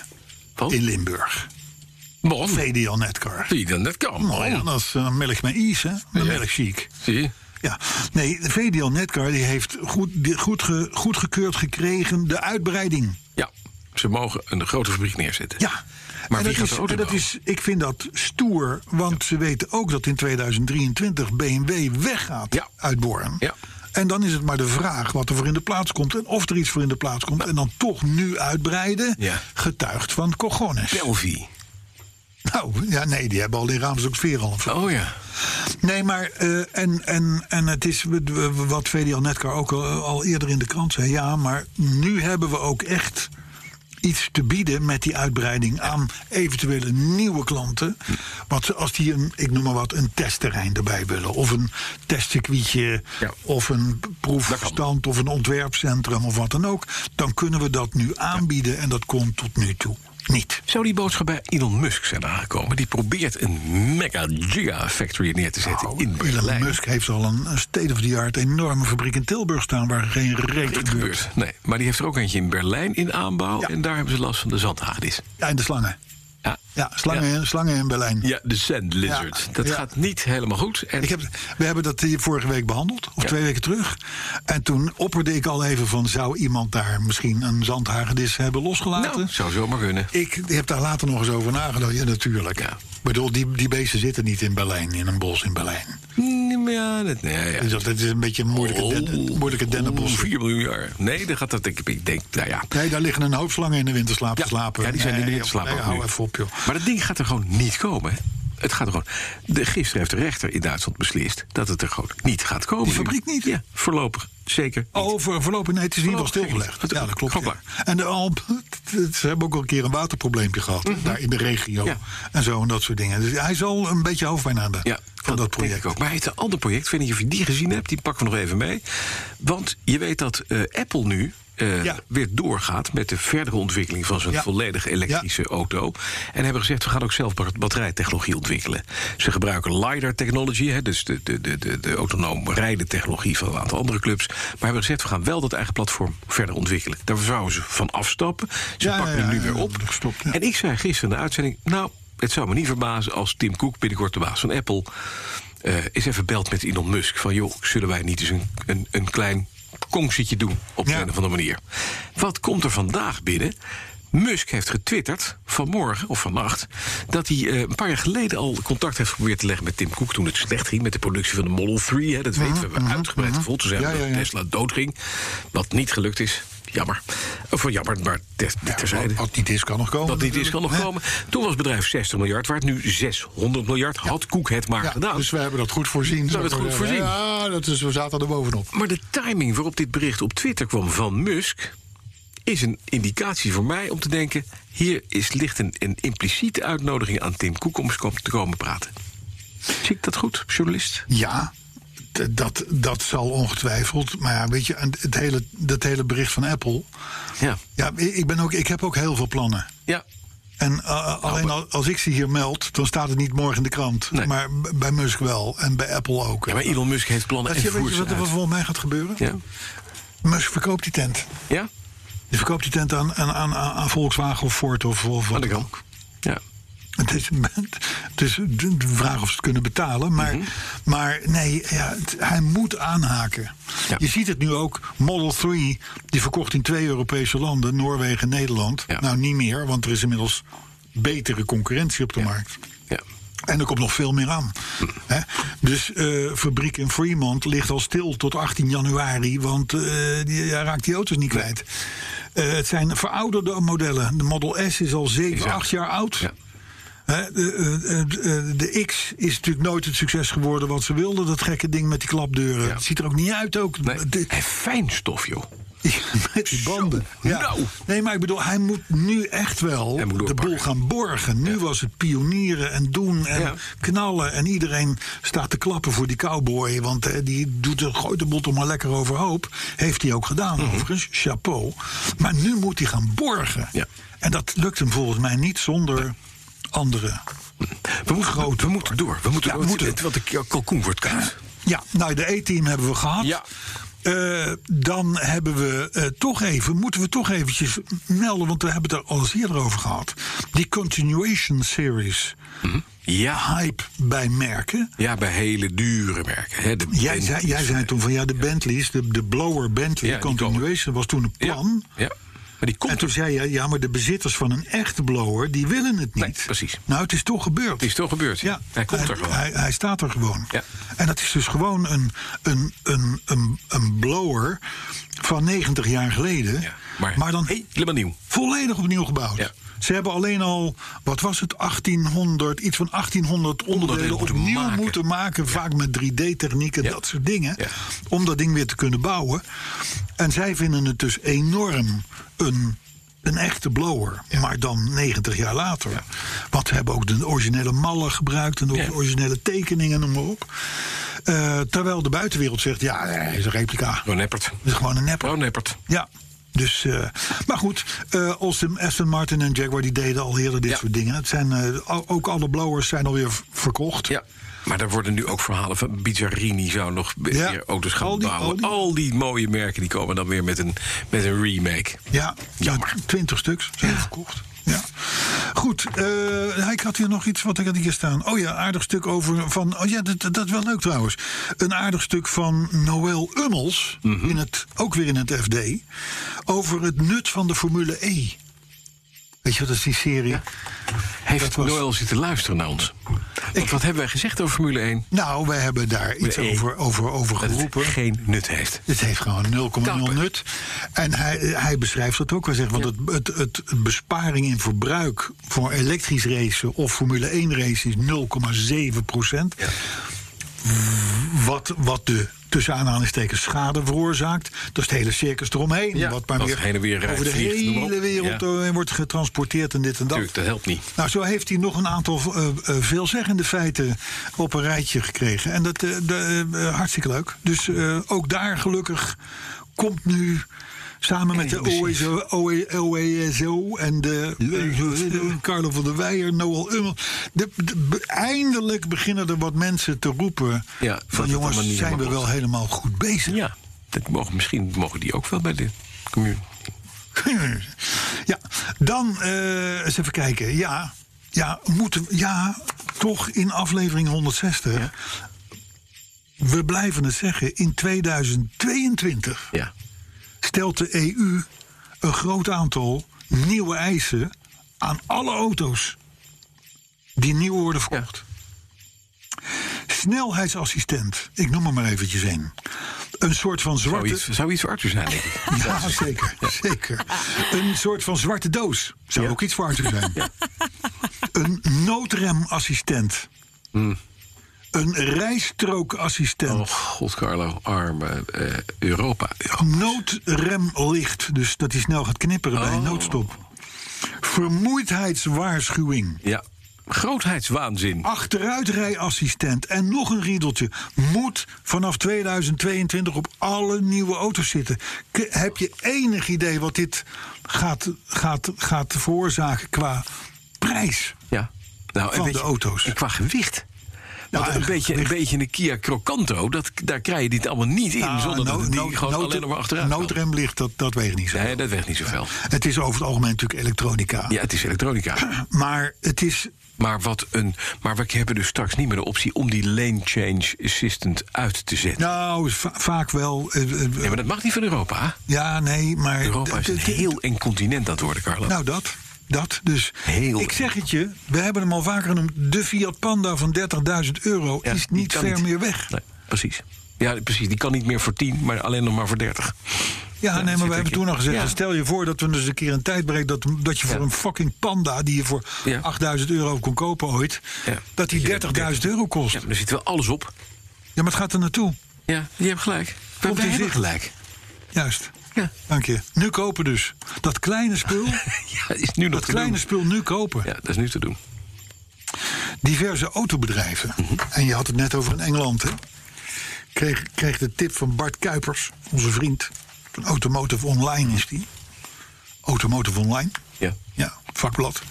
Speaker 3: Wat? Oh.
Speaker 2: in Limburg.
Speaker 3: Bon,
Speaker 2: VDL Netcar.
Speaker 3: zie je dan, dat kan.
Speaker 2: Mooi, ja, dat is eh, een melk met is, hè? Een melk chic.
Speaker 3: Zie je?
Speaker 2: Ja, nee, de VDL Netcar die heeft goed, die, goed, ge, goedgekeurd gekregen de uitbreiding.
Speaker 3: Ja. Ze mogen een grote fabriek neerzetten.
Speaker 2: Ja.
Speaker 3: Maar
Speaker 2: en
Speaker 3: wie
Speaker 2: dat
Speaker 3: gaat
Speaker 2: is,
Speaker 3: de auto
Speaker 2: en dat
Speaker 3: bouwen?
Speaker 2: is, Ik vind dat stoer, want ze weten ook dat in 2023 BMW weggaat
Speaker 3: Ja.
Speaker 2: uit Born.
Speaker 3: Ja.
Speaker 2: En dan is het maar de vraag wat er voor in de plaats komt en of er iets voor in de plaats komt. En dan toch nu uitbreiden,
Speaker 3: Ja.
Speaker 2: getuigd van cojones.
Speaker 3: Belvi.
Speaker 2: Nou, ja, nee, die hebben al in Raamsdorp al een
Speaker 3: Oh ja.
Speaker 2: Nee, maar eh, en, en, en het is w- w- wat eh, VDL Netcar ook al, al eerder in de krant zei. Ja, maar nu hebben we ook echt iets te bieden met die uitbreiding aan eventuele nieuwe klanten. Want ze- als die een, ik noem maar wat, een testterrein erbij willen. Of een testcircuitje,
Speaker 3: Ja.
Speaker 2: of een proefstand, of een ontwerpcentrum of wat dan ook. Dan kunnen we dat nu aanbieden en dat kon tot nu toe niet.
Speaker 3: Zou die boodschap bij Elon Musk zijn aangekomen? Die probeert een mega gigafactory neer te zetten in
Speaker 2: Elon
Speaker 3: Oh, Berlijn.
Speaker 2: Musk heeft al een een state-of-the-art enorme fabriek in Tilburg staan... waar geen reet
Speaker 3: Niet
Speaker 2: gebeurt.
Speaker 3: gebeurd. Nee, maar die heeft er ook eentje in Berlijn in aanbouw. En daar hebben ze last van de zandhadis.
Speaker 2: Ja, en de slangen.
Speaker 3: Ja,
Speaker 2: Ja, slangen,
Speaker 3: Ja.
Speaker 2: slangen in Berlijn.
Speaker 3: Ja, de Sand Lizard.
Speaker 2: Ja,
Speaker 3: Dat
Speaker 2: ja.
Speaker 3: gaat niet helemaal goed. En
Speaker 2: Ik heb, we hebben dat hier vorige week behandeld, of
Speaker 3: Ja.
Speaker 2: twee weken terug. En toen opperde ik al even van... zou iemand daar misschien een zandhagedis hebben losgelaten?
Speaker 3: nou, zou zomaar kunnen.
Speaker 2: Ik heb daar later nog eens over nagedacht. Ja, natuurlijk.
Speaker 3: Ja.
Speaker 2: Ik bedoel, die, die beesten zitten niet in Berlijn, in een bos in Berlijn.
Speaker 3: Mm, Ja, dat, nee, ja. Oh.
Speaker 2: Dus dat, dat is een beetje een moeilijke, den- moeilijke dennenbos.
Speaker 3: 4 miljoen jaar. Nee, dan gaat dat denk ik. Ik denk, nou ja.
Speaker 2: Nee, daar liggen een hoop slangen in de winterslaap
Speaker 3: Ja,
Speaker 2: te slapen.
Speaker 3: ja, die zijn in de
Speaker 2: Nee,
Speaker 3: winterslaap
Speaker 2: nee,
Speaker 3: ook
Speaker 2: hou
Speaker 3: nu.
Speaker 2: even op, joh.
Speaker 3: Maar dat ding gaat er gewoon niet komen. hè? Het gaat er gewoon. De, gisteren heeft de rechter in Duitsland beslist dat het er gewoon niet gaat komen.
Speaker 2: Die fabriek niet?
Speaker 3: Ja, voorlopig. Zeker. niet.
Speaker 2: Oh, voor, voorlopig nee, het is in ieder
Speaker 3: Voorlopig
Speaker 2: geval stilgelegd.
Speaker 3: niet.
Speaker 2: Ja, dat klopt.
Speaker 3: Gewoon
Speaker 2: ja. En de Alp, ze hebben ook al een keer een waterprobleempje gehad. Daar in de regio
Speaker 3: Mhm. Ja.
Speaker 2: en zo en dat soort dingen. Dus hij zal een beetje hoofdpijn hebben
Speaker 3: Ja,
Speaker 2: van dat
Speaker 3: denk
Speaker 2: project.
Speaker 3: ik ook. Maar hij heeft een ander project. Ik weet niet of je die gezien hebt. Die pakken we nog even mee. Want je weet dat eh, Apple nu. eh,
Speaker 2: Ja.
Speaker 3: weer doorgaat met de verdere ontwikkeling van zijn
Speaker 2: Ja.
Speaker 3: volledig elektrische auto. En hebben gezegd, we gaan ook zelf bat- batterijtechnologie ontwikkelen. Ze gebruiken LiDAR-technology, hè, dus de, de, de, de, de autonoom rijden technologie van een aantal andere clubs. Maar hebben gezegd, we gaan wel dat eigen platform verder ontwikkelen. Daar zouden ze van afstappen. Ze
Speaker 2: Ja,
Speaker 3: pakken
Speaker 2: ja,
Speaker 3: hem nu
Speaker 2: ja,
Speaker 3: weer
Speaker 2: ja,
Speaker 3: op.
Speaker 2: gestopt, ja.
Speaker 3: En ik zei gisteren in de uitzending... nou, het zou me niet verbazen als Tim Cook, binnenkort de baas van Apple... eh, eens even belt met Elon Musk. Van joh, zullen wij niet eens een, een, een klein kongsietje doen op de
Speaker 2: Ja.
Speaker 3: een of andere manier. Wat komt er vandaag binnen? Musk heeft getwitterd vanmorgen of vannacht... dat hij eh, een paar jaar geleden al contact heeft geprobeerd te leggen met Tim Cook... toen het slecht ging met de productie van de Model 3. Hè, dat weten we, we, hebben uitgebreid gevolgd. Toen zijn we
Speaker 2: Mhm, Ja,
Speaker 3: dat
Speaker 2: ja, ja.
Speaker 3: Tesla doodging. Wat niet gelukt is. Jammer. Of jammer, maar ter, terzijde.
Speaker 2: Als die disc kan nog komen.
Speaker 3: Dat niet is, kan nog
Speaker 2: natuurlijk,
Speaker 3: komen. Toen was het bedrijf 60 miljard waard, nu 600 miljard. Had Koek het maar
Speaker 2: hè. Ja,
Speaker 3: gedaan.
Speaker 2: dus we hebben dat goed voorzien.
Speaker 3: Nou. hebben het
Speaker 2: zou ik
Speaker 3: goed
Speaker 2: maar zeggen.
Speaker 3: voorzien.
Speaker 2: Ja, dat is, we zaten er bovenop.
Speaker 3: Maar de timing waarop dit bericht op Twitter kwam van Musk... is een indicatie voor mij om te denken... hier is, ligt een, een impliciete uitnodiging aan Tim Koek om eens kom- te komen praten. Zie ik dat goed, journalist?
Speaker 2: Ja, d- dat, dat zal ongetwijfeld. Maar ja, weet je, en het hele, dat hele bericht van Apple...
Speaker 3: Ja.
Speaker 2: Ja, ik, ik ben ook, ik heb ook heel veel plannen.
Speaker 3: Ja,
Speaker 2: En uh,
Speaker 3: Nou,
Speaker 2: alleen al- als ik ze hier meld, dan staat het niet morgen in de krant.
Speaker 3: Nee.
Speaker 2: Maar b- bij Musk wel en bij Apple ook.
Speaker 3: ja maar Elon Musk heeft plannen
Speaker 2: Weet
Speaker 3: en
Speaker 2: je, weet
Speaker 3: voert
Speaker 2: je
Speaker 3: ze
Speaker 2: wat er
Speaker 3: uit.
Speaker 2: volgens mij gaat gebeuren?
Speaker 3: Ja?
Speaker 2: Musk verkoopt die tent.
Speaker 3: Ja?
Speaker 2: Die verkoopt die tent aan, aan, aan, aan Volkswagen of Ford of, of
Speaker 3: Aan
Speaker 2: wat
Speaker 3: de
Speaker 2: dan
Speaker 3: kant.
Speaker 2: ook.
Speaker 3: Ja.
Speaker 2: Het is, het is de de vraag of ze het kunnen betalen. Maar,
Speaker 3: Mhm.
Speaker 2: maar nee, ja, het- hij moet aanhaken.
Speaker 3: Ja.
Speaker 2: Je ziet het nu ook. Model 3, die verkocht in twee Europese landen, Noorwegen en Nederland.
Speaker 3: Ja.
Speaker 2: Nou, niet meer, want er is inmiddels betere concurrentie op de markt.
Speaker 3: Ja.
Speaker 2: En er komt nog veel meer aan. Hè? Dus eh, fabriek in Fremont ligt al stil tot 18 januari, want eh, die, hij raakt die auto's niet kwijt. Eh, het zijn verouderde modellen. De Model S is al 7,
Speaker 3: oud.
Speaker 2: 8 jaar oud.
Speaker 3: Ja.
Speaker 2: Hè, de, eh, eh, de, eh, de X is natuurlijk nooit het succes geworden wat ze wilden. Dat gekke ding met die klapdeuren.
Speaker 3: Ja.
Speaker 2: Het ziet er ook niet uit ook.
Speaker 3: Nee.
Speaker 2: De-
Speaker 3: En fijn stof, joh.
Speaker 2: met die banden.
Speaker 3: Zo, nou.
Speaker 2: Nee, maar ik bedoel, hij moet nu echt wel
Speaker 3: Hij
Speaker 2: de
Speaker 3: moet doorpakken.
Speaker 2: boel gaan borgen. Nu was het pionieren en doen en
Speaker 3: Ja.
Speaker 2: knallen. En iedereen staat te klappen voor die cowboy. Want eh, die doet de, gooit de boel toch maar lekker overhoop. Heeft hij ook gedaan,
Speaker 3: Mhm.
Speaker 2: overigens. Chapeau. Maar nu moet hij gaan borgen.
Speaker 3: Ja.
Speaker 2: En dat lukt hem volgens mij niet zonder andere.
Speaker 3: We moeten,
Speaker 2: Groot.
Speaker 3: we moeten door. We moeten
Speaker 2: Ja, we
Speaker 3: door.
Speaker 2: moeten
Speaker 3: Want de kalkoen wordt koud.
Speaker 2: Ja, nou, de E-team hebben we gehad.
Speaker 3: Ja.
Speaker 2: Eh, dan hebben we eh, toch even, moeten we toch eventjes melden, want we hebben het er al eens eerder over gehad. Die continuation series
Speaker 3: Ja.
Speaker 2: hype bij merken.
Speaker 3: Ja, bij hele dure merken. Hè? De
Speaker 2: Jij
Speaker 3: Bentleys.
Speaker 2: zei, jij zei toen van ja, de Bentleys, de, de blower Bentley
Speaker 3: Ja, die
Speaker 2: continuation was toen een
Speaker 3: ja.
Speaker 2: plan.
Speaker 3: ja, maar die
Speaker 2: En
Speaker 3: komt
Speaker 2: toen
Speaker 3: er.
Speaker 2: zei je, ja, maar de bezitters van een echte blower, die willen het niet.
Speaker 3: Nee, precies.
Speaker 2: Nou, het is toch gebeurd.
Speaker 3: Het is toch gebeurd.
Speaker 2: Ja,
Speaker 3: Hij komt er gewoon.
Speaker 2: Hij, hij staat er gewoon.
Speaker 3: Ja.
Speaker 2: En dat is dus gewoon een, een, een, een, een blower van 90 jaar geleden.
Speaker 3: Ja, maar,
Speaker 2: dan
Speaker 3: helemaal nieuw.
Speaker 2: volledig opnieuw gebouwd.
Speaker 3: Ja.
Speaker 2: Ze hebben alleen al, wat was het, 1800, iets van 1800 onderdelen
Speaker 3: Onderdelen moeten
Speaker 2: opnieuw
Speaker 3: maken.
Speaker 2: moeten maken. Vaak met 3D-technieken,
Speaker 3: Ja.
Speaker 2: dat soort dingen.
Speaker 3: Ja.
Speaker 2: Om dat ding weer te kunnen bouwen. En zij vinden het dus enorm een een echte blower, maar dan 90 jaar later. Want ze hebben ook de originele mallen gebruikt en ook
Speaker 3: Ja.
Speaker 2: de originele tekeningen, noem maar op. Eh, terwijl de buitenwereld zegt: ja, nee, hij is een replica.
Speaker 3: Gewoon neppert.
Speaker 2: Het is gewoon een nepper.
Speaker 3: Gewoon neppert.
Speaker 2: Ja. Dus, eh, maar goed, eh Austin, Aston Martin en Jaguar die deden al eerder dit
Speaker 3: Ja.
Speaker 2: soort dingen. Het zijn, eh, al- ook alle blowers zijn alweer v- verkocht.
Speaker 3: Ja. Maar daar worden nu ook verhalen van Bizzarini zou nog be-
Speaker 2: Ja.
Speaker 3: weer auto's gaan
Speaker 2: Al die-
Speaker 3: bouwen.
Speaker 2: al die-
Speaker 3: mooie merken die komen dan weer met een, met een remake.
Speaker 2: Ja,
Speaker 3: Jammer.
Speaker 2: twintig stuks zijn er verkocht. Ja. Goed, eh, ik had hier nog iets wat ik had hier staan. Oh ja, aardig stuk over van. Oh ja, dat, dat is wel leuk trouwens. Een aardig stuk van Noël Ummels,
Speaker 3: Mhm.
Speaker 2: in het, ook weer in het FD, over het nut van de Formule E. Weet je wat, dat is die serie.
Speaker 3: Heeft
Speaker 2: Dat was-
Speaker 3: Noël zitten luisteren naar ons? Want wat hebben wij gezegd over Formule 1?
Speaker 2: Nou, wij hebben daar iets
Speaker 3: E.
Speaker 2: over, over, over
Speaker 3: Dat het
Speaker 2: geroepen.
Speaker 3: geen nut heeft.
Speaker 2: Het heeft gewoon 0,0
Speaker 3: Kappen.
Speaker 2: nut. En hij, hij beschrijft dat ook wel zeg. Want het, het, het besparing in verbruik voor elektrisch racen of Formule 1 race is 0,7 procent. Wat, wat de tussen aanhalingstekens schade veroorzaakt. Dat is het hele circus eromheen.
Speaker 3: Ja,
Speaker 2: wat maar
Speaker 3: dat
Speaker 2: weer
Speaker 3: heen en weer rijdt,
Speaker 2: over de
Speaker 3: vliegt, noem maar op.
Speaker 2: hele wereld
Speaker 3: Ja.
Speaker 2: doorheen wordt getransporteerd en dit en dat.
Speaker 3: Tuurlijk, dat helpt niet.
Speaker 2: Nou, zo heeft hij nog een aantal eh, eh, veelzeggende feiten op een rijtje gekregen. En dat eh, de, eh, hartstikke leuk. Dus eh, ook daar gelukkig komt nu samen met de E OESO, OE- OESO E en de eh, Carlo van der Weijer, Noel Ummel. de- de- be- eindelijk beginnen er wat mensen te roepen
Speaker 3: Ja, dat
Speaker 2: van
Speaker 3: het allemaal
Speaker 2: jongens,
Speaker 3: niet
Speaker 2: zijn we
Speaker 3: helemaal
Speaker 2: wel helemaal goed bezig.
Speaker 3: Ja, dat mogen, misschien mogen die ook wel bij de community.
Speaker 2: Ja, dan eh, eens even kijken. Ja, ja, moeten, we- ja, toch in aflevering 160. We blijven het zeggen. In 2022
Speaker 3: Ja.
Speaker 2: stelt de EU een groot aantal nieuwe eisen aan alle auto's die nieuw worden verkocht. Snelheidsassistent, ik noem er maar eventjes een. Een soort van
Speaker 3: Zou
Speaker 2: zwarte.
Speaker 3: iets, zou iets voor Arthur zijn, denk ik.
Speaker 2: Ja, zeker, zeker. Een soort van zwarte doos. Zou ook iets voor Arthur zijn. Een noodremassistent. Hmm. Een
Speaker 3: Oh,
Speaker 2: rijstrookassistent.
Speaker 3: god, Carlo, arme eh, Europa.
Speaker 2: Noodremlicht, dus dat hij snel gaat knipperen bij een noodstop. Vermoeidheidswaarschuwing.
Speaker 3: Ja, grootheidswaanzin.
Speaker 2: Achteruitrijassistent en nog een riedeltje. Moet vanaf 2022 op alle nieuwe auto's zitten. K- heb je enig idee wat dit gaat, gaat, gaat veroorzaken qua prijs?
Speaker 3: Ja. Nou, en
Speaker 2: Van
Speaker 3: weet
Speaker 2: de
Speaker 3: je-
Speaker 2: auto's.
Speaker 3: En qua gewicht. Want
Speaker 2: en
Speaker 3: een, beetje, een
Speaker 2: gewicht.
Speaker 3: beetje een Kia Crocanto, dat, daar krijg je dit allemaal niet in... zonder dat
Speaker 2: Nou,
Speaker 3: het die
Speaker 2: nood-
Speaker 3: gewoon
Speaker 2: nood-
Speaker 3: alleen nog maar achteruit kan.
Speaker 2: Noodremlicht, dat, dat weegt niet zo.
Speaker 3: Nee, dat weegt niet zoveel.
Speaker 2: Het is over het algemeen natuurlijk elektronica.
Speaker 3: Ja, het is elektronica.
Speaker 2: Maar het is
Speaker 3: Maar, wat een, maar we hebben dus straks niet meer de optie om die lane change assistant uit te zetten.
Speaker 2: nou va- vaak wel... eh, eh,
Speaker 3: Nee, maar dat mag niet van Europa.
Speaker 2: ja, nee, maar...
Speaker 3: Europa is een
Speaker 2: het- het-
Speaker 3: heel eng continent aan het worden, Carlo.
Speaker 2: Nou, dat. Dat. Dus
Speaker 3: Heel
Speaker 2: ik zeg het je, we hebben hem al vaker genoemd. De Fiat Panda van 30.000 euro
Speaker 3: Ja,
Speaker 2: is
Speaker 3: die
Speaker 2: niet
Speaker 3: kan
Speaker 2: ver meer weg.
Speaker 3: Nee, precies. Ja, precies. Die kan niet meer voor 10, maar alleen nog maar voor 30.
Speaker 2: Ja,
Speaker 3: dat
Speaker 2: nee, maar
Speaker 3: zit
Speaker 2: we hebben
Speaker 3: ik in.
Speaker 2: toen al gezegd...
Speaker 3: Ja.
Speaker 2: stel je voor dat we dus een keer een tijd breekt... dat, dat je voor
Speaker 3: Ja.
Speaker 2: een fucking panda die je voor
Speaker 3: Ja.
Speaker 2: 8.000 euro kon kopen ooit...
Speaker 3: Ja.
Speaker 2: dat
Speaker 3: Ja,
Speaker 2: die 30.000 euro kost.
Speaker 3: Ja,
Speaker 2: Ja,
Speaker 3: maar er zit wel alles op.
Speaker 2: maar het gaat er naartoe.
Speaker 3: Ja, je hebt gelijk.
Speaker 2: Komt in zicht.
Speaker 3: gelijk.
Speaker 2: Juist.
Speaker 3: Ja.
Speaker 2: Dank je. Nu kopen dus. Dat kleine spul,
Speaker 3: ja, dat is nu nog
Speaker 2: dat
Speaker 3: te
Speaker 2: kleine
Speaker 3: doen.
Speaker 2: spul nu kopen.
Speaker 3: Ja, dat is nu te doen.
Speaker 2: diverse autobedrijven. En je had het net over in Engeland. Hè? Kreeg, kreeg de tip van Bart Kuipers, onze vriend. Van Automotive Online is die. Automotive Online.
Speaker 3: Ja.
Speaker 2: Ja, vakblad.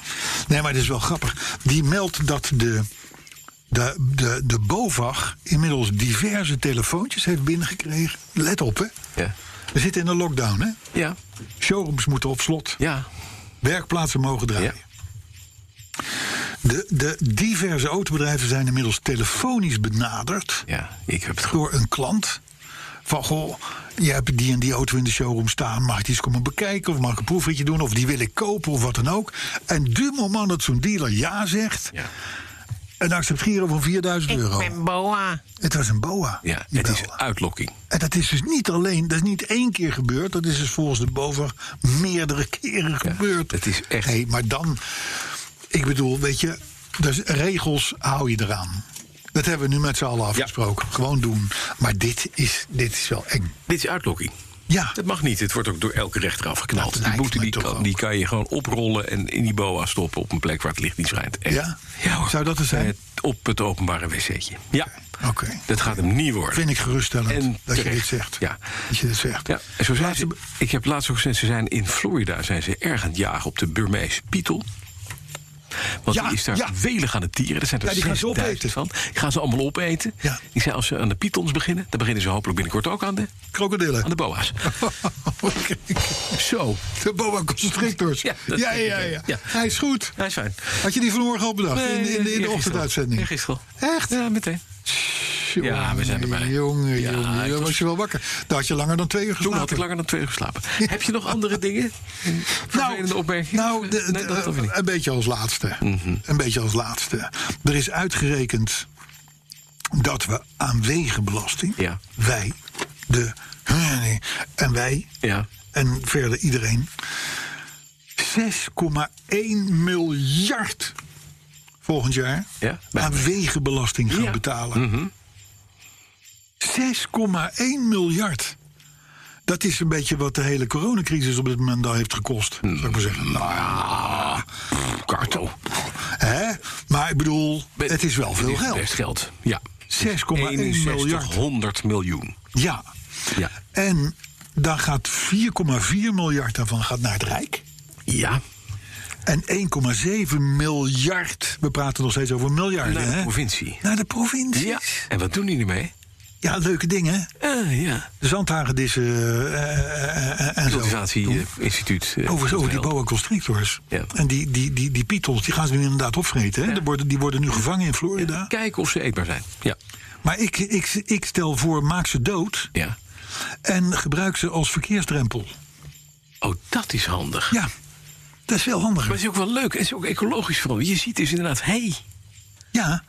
Speaker 2: Nee, maar dat is wel grappig. Die meldt dat de, de, de, de BOVAG inmiddels diverse telefoontjes heeft binnengekregen. Let op, hè.
Speaker 3: Ja.
Speaker 2: We zitten in een lockdown, hè.
Speaker 3: Ja.
Speaker 2: Showrooms moeten op slot.
Speaker 3: Ja.
Speaker 2: Werkplaatsen mogen draaien.
Speaker 3: Ja.
Speaker 2: De, de diverse autobedrijven zijn inmiddels telefonisch benaderd
Speaker 3: Ja. Ik heb het goed.
Speaker 2: door een klant. Van goh, je hebt die en die auto in de showroom staan. Mag ik die eens komen bekijken? Of mag ik een proefritje doen? Of die wil ik kopen of wat dan ook. En du moment dat zo'n dealer ja zegt.
Speaker 3: Ja.
Speaker 2: Een acceptgiro van 4000 euro.
Speaker 6: Boa.
Speaker 2: Het was een boa.
Speaker 3: Ja,
Speaker 2: die
Speaker 3: het is
Speaker 2: boa.
Speaker 3: uitlokking.
Speaker 2: En dat is dus niet alleen, dat is niet één keer gebeurd. Dat is dus volgens de BOVAG meerdere keren gebeurd.
Speaker 3: het is echt-
Speaker 2: Hé, maar dan, ik bedoel, weet je, dus regels hou je eraan. Dat hebben we nu met z'n allen afgesproken. Gewoon doen. Maar dit is, dit is wel eng.
Speaker 3: Dit is uitlokking.
Speaker 2: Ja.
Speaker 3: Dat mag niet. Het wordt ook door elke rechter afgeknald.
Speaker 2: Dat
Speaker 3: die
Speaker 2: lijkt
Speaker 3: boete
Speaker 2: me
Speaker 3: die
Speaker 2: toch
Speaker 3: kan,
Speaker 2: ook.
Speaker 3: die kan je gewoon oprollen en in die boa stoppen op een plek waar het licht niet schijnt. Echt.
Speaker 2: Ja?
Speaker 3: hoor.
Speaker 2: Zou dat er zijn?
Speaker 3: Eh, op het openbare wc'tje. Ja.
Speaker 2: Oké.
Speaker 3: Dat gaat hem niet worden.
Speaker 2: Vind ik geruststellend
Speaker 3: En
Speaker 2: dat je
Speaker 3: terecht.
Speaker 2: dit zegt.
Speaker 3: Ja.
Speaker 2: Dat je dit zegt.
Speaker 3: Ja, en zo zijn
Speaker 2: Laatste
Speaker 3: ze, ik heb laatst ook gezien, ze zijn in Florida zijn ze erg aan het jagen op de Burmeese Pietel. Want
Speaker 2: Ja,
Speaker 3: die is daar
Speaker 2: ja.
Speaker 3: welig aan het dieren. Er zijn er
Speaker 2: Ja, die gaan ze
Speaker 3: 6000 van. Die gaan ze allemaal opeten.
Speaker 2: Ja.
Speaker 3: Die zijn als ze aan de Pythons beginnen, dan beginnen ze hopelijk binnenkort ook aan de,
Speaker 2: Krokodillen.
Speaker 3: aan de boa's.
Speaker 2: Oké.
Speaker 3: Zo.
Speaker 2: De boa constrictors.
Speaker 3: Ja,
Speaker 2: Ja,
Speaker 3: dat
Speaker 2: ja,
Speaker 3: denk ik
Speaker 2: ja,
Speaker 3: ook. Ja.
Speaker 2: Hij is goed.
Speaker 3: Hij is fijn.
Speaker 2: Had je die vanmorgen al bedacht? in, in, in de ochtenduitzending?
Speaker 3: Gisteren.
Speaker 2: Echt?
Speaker 3: Ja, meteen. Ja, we zijn erbij.
Speaker 2: Jongen,
Speaker 3: Ja,
Speaker 2: jongen.
Speaker 3: ik
Speaker 2: Dan
Speaker 3: was-
Speaker 2: was je wel wakker. Daar had je langer dan twee uur
Speaker 3: Toen
Speaker 2: geslapen.
Speaker 3: had ik langer dan twee uur geslapen. Heb je nog andere dingen? Vervelende opmerkingen?
Speaker 2: Nou, de-
Speaker 3: nee, dat
Speaker 2: de-
Speaker 3: hoef je niet. Mhm.
Speaker 2: een beetje als laatste. Een beetje als laatste. Er is uitgerekend dat we aan wegenbelasting,
Speaker 3: Ja.
Speaker 2: wij, de en wij
Speaker 3: Ja.
Speaker 2: en verder iedereen, 6,1 miljard volgend jaar
Speaker 3: Ja, bij-
Speaker 2: aan wegenbelasting gaan
Speaker 3: Ja. Mhm.
Speaker 2: betalen. 6,1 miljard. Dat is een beetje wat de hele coronacrisis op dit moment al heeft gekost. Zou ik maar zeggen. Nou ja.
Speaker 3: Carlo.
Speaker 2: Hè? Maar ik bedoel, het is wel veel
Speaker 3: is Best
Speaker 2: geld.
Speaker 3: geld. Ja.
Speaker 2: 6,1 miljard.
Speaker 3: 100 miljoen.
Speaker 2: Ja.
Speaker 3: Ja.
Speaker 2: En dan gaat 4,4 miljard daarvan gaat naar het Rijk.
Speaker 3: Ja.
Speaker 2: En 1,7 miljard. We praten nog steeds over miljarden.
Speaker 3: Naar de
Speaker 2: hè?
Speaker 3: provincie.
Speaker 2: Naar de provincies.
Speaker 3: Ja. En wat doen die ermee?
Speaker 2: Ja, leuke dingen.
Speaker 3: Eh ja.
Speaker 2: Zandhagedissen eh, eh, eh, en zo.
Speaker 3: Cultivatieinstituut. eh,
Speaker 2: Over, over die
Speaker 3: helpen.
Speaker 2: boa constrictors.
Speaker 3: Ja.
Speaker 2: En die, die, die, die pythons, die gaan ze nu inderdaad opvreten. Hè? Die, worden, die worden nu gevangen in Florida.
Speaker 3: Kijken of ze eetbaar zijn. Ja.
Speaker 2: Maar ik, ik, ik stel voor, maak ze dood
Speaker 3: ja.
Speaker 2: en gebruik ze als verkeersdrempel.
Speaker 3: Oh, dat is handig.
Speaker 2: Ja, dat is veel
Speaker 3: Maar
Speaker 2: handiger.
Speaker 3: het is ook wel leuk. Het is ook ecologisch vooral. Je ziet dus inderdaad, hey.
Speaker 2: Ja,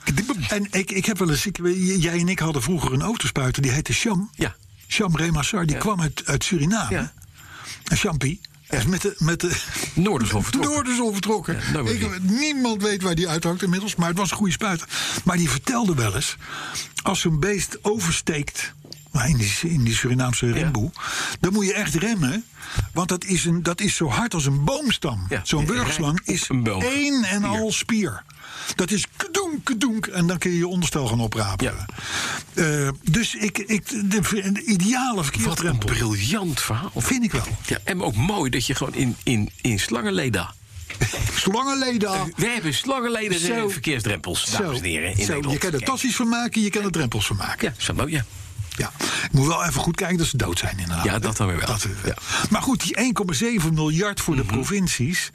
Speaker 2: en ik, ik heb wel eens... Ik, jij en ik hadden vroeger een autospuiter, die heette Sham.
Speaker 3: Ja.
Speaker 2: Sham Remassar, die kwam uit, uit Suriname.
Speaker 3: Ja.
Speaker 2: Een champie. Hij is met de, met de,
Speaker 3: Noordersom vertrokken.
Speaker 2: Noorderson vertrokken.
Speaker 3: Ja, daar was
Speaker 2: Ik-
Speaker 3: hij.
Speaker 2: niemand weet waar die uithangt inmiddels, maar het was een goede spuiter. Maar die vertelde wel eens, als zo'n beest oversteekt... nou, In die, in die Surinaamse remboe. Dan moet je echt remmen. Want dat is, een, dat is zo hard als een boomstam.
Speaker 3: Ja,
Speaker 2: Zo'n
Speaker 3: je
Speaker 2: wurgslang
Speaker 3: rijdt op
Speaker 2: is
Speaker 3: een boom.
Speaker 2: één en al spier. Dat is kadoenk, kadoenk. En dan kun je je onderstel gaan oprapen.
Speaker 3: Ja.
Speaker 2: Eh, dus ik, ik, de, de ideale
Speaker 3: Wat een
Speaker 2: verkeersdrempel.
Speaker 3: briljant verhaal.
Speaker 2: Vind ik wel.
Speaker 3: Ja, en ook mooi dat je gewoon in, in, in slangenleda...
Speaker 2: Slangenleda.
Speaker 3: We hebben slangenleden
Speaker 2: Zo.
Speaker 3: en verkeersdrempels, dames en heren. In
Speaker 2: zo,
Speaker 3: Nederland.
Speaker 2: je kan er
Speaker 3: Kijk.
Speaker 2: tassies van maken, je kan er drempels van maken.
Speaker 3: Ja, zo mooi, ja.
Speaker 2: Ja. Ik moet wel even goed kijken dat ze dood zijn inderdaad.
Speaker 3: Ja, dat dan weer wel.
Speaker 2: Dat, eh,
Speaker 3: Ja. Mhm.
Speaker 2: Maar goed, die 1,7 miljard voor de provincies...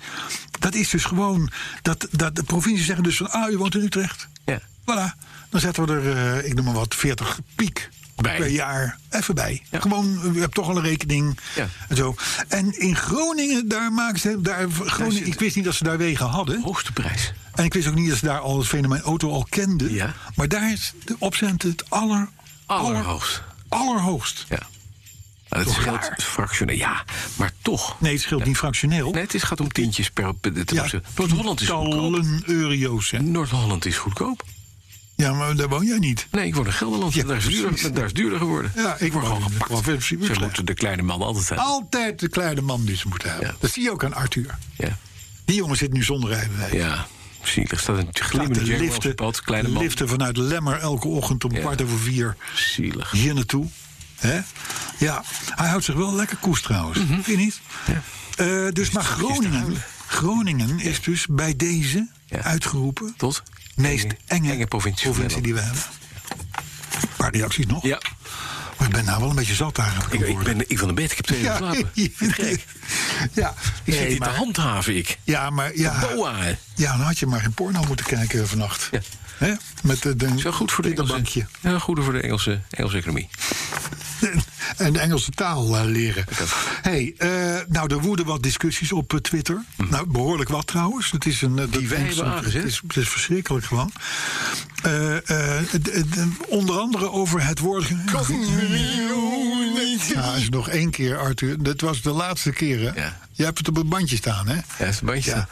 Speaker 2: dat is dus gewoon... Dat, dat de provincies zeggen dus van... ah, u woont in Utrecht.
Speaker 3: Ja.
Speaker 2: Voilà. Dan zetten we er, eh, ik noem maar wat, 40 piek
Speaker 3: Bij.
Speaker 2: per jaar even bij.
Speaker 3: Ja.
Speaker 2: Gewoon, u hebt toch al een rekening
Speaker 3: Ja.
Speaker 2: en zo. En in Groningen, daar maken ze... Daar, Groningen,
Speaker 3: zit-
Speaker 2: ik wist niet dat ze daar wegen hadden.
Speaker 3: Hoogste prijs.
Speaker 2: En ik wist ook niet dat ze daar al het fenomeen auto al kenden.
Speaker 3: Ja.
Speaker 2: Maar daar is de opcenten het aller,
Speaker 3: Allerhoogst.
Speaker 2: aller- allerhoogst.
Speaker 3: Ja. Maar het
Speaker 2: Toch
Speaker 3: scheelt
Speaker 2: raar.
Speaker 3: fractioneel. Ja, maar toch.
Speaker 2: Nee, het scheelt niet fractioneel.
Speaker 3: Nee, het is, gaat om tientjes per... per- ten opzichte- Noord-Holland is goedkoop.
Speaker 2: Tallen euro's. Hè.
Speaker 3: Noord-Holland is goedkoop.
Speaker 2: Ja, maar daar woon jij niet.
Speaker 3: Nee, ik woon in Gelderland.
Speaker 2: Ja,
Speaker 3: daar, is het duurder,
Speaker 2: precies.
Speaker 3: daar is het duurder geworden.
Speaker 2: Ja, ik
Speaker 3: ik word
Speaker 2: woon
Speaker 3: gewoon
Speaker 2: in de
Speaker 3: gepakt.
Speaker 2: provincie
Speaker 3: Ze
Speaker 2: Utrecht.
Speaker 3: moeten de kleine man altijd zijn.
Speaker 2: Altijd de kleine man die ze moeten hebben.
Speaker 3: Ja.
Speaker 2: Dat zie je ook aan Arthur.
Speaker 3: Ja,
Speaker 2: Die jongen zit nu zonder rijbewijs.
Speaker 3: ja. zielig. Staat een
Speaker 2: Staat
Speaker 3: glimmende
Speaker 2: de
Speaker 3: jaguar op zijn
Speaker 2: liften,
Speaker 3: pad. Kleine man.
Speaker 2: liften vanuit Lemmer elke ochtend om
Speaker 3: Ja.
Speaker 2: kwart over vier
Speaker 3: Zielig.
Speaker 2: hier naartoe. hè? Ja, hij houdt zich wel lekker koest trouwens.
Speaker 3: Mhm.
Speaker 2: Vind je niet? Eh, dus maar Groningen, Groningen is dus bij deze
Speaker 3: Ja.
Speaker 2: uitgeroepen...
Speaker 3: Tot?
Speaker 2: meest enge,
Speaker 3: enge provincie van
Speaker 2: die we hebben. Een paar reacties nog.
Speaker 3: Ja,
Speaker 2: Maar ik ben nou wel een beetje zat eigenlijk.
Speaker 3: ik, ik
Speaker 2: geworden.
Speaker 3: ben ik van de bed. Ik heb twee uur
Speaker 2: ja,
Speaker 3: geslapen.
Speaker 2: ja, ja,
Speaker 3: Ik
Speaker 2: nee,
Speaker 3: zit dit te
Speaker 2: maar-
Speaker 3: handhaven, ik. ah.
Speaker 2: ja, maar ja,
Speaker 3: Boa, hè.
Speaker 2: ja, dan had je maar geen porno moeten kijken vannacht.
Speaker 3: Ja.
Speaker 2: Hè? Met de, de
Speaker 3: Is wel goed voor de Engelse,
Speaker 2: bankje.
Speaker 3: ja, goed voor de Engelse, Engelse economie.
Speaker 2: en de Engelse taal eh, leren.
Speaker 3: ook.
Speaker 2: hey, eh, nou, er woeden wat discussies op eh, Twitter.
Speaker 3: Mhm.
Speaker 2: Nou, behoorlijk wat trouwens. Het is een, eh, dat
Speaker 3: wij
Speaker 2: is-
Speaker 3: hebben aangezet.
Speaker 2: Het is, het is verschrikkelijk gewoon. Eh, eh, d- d- onder andere over het woord... Ja, als je nog één keer, Arthur. Dat was de laatste keer, hè?
Speaker 3: Ja.
Speaker 2: Jij hebt het op het bandje staan, hè?
Speaker 3: Ja, is een bandje.
Speaker 2: Ja.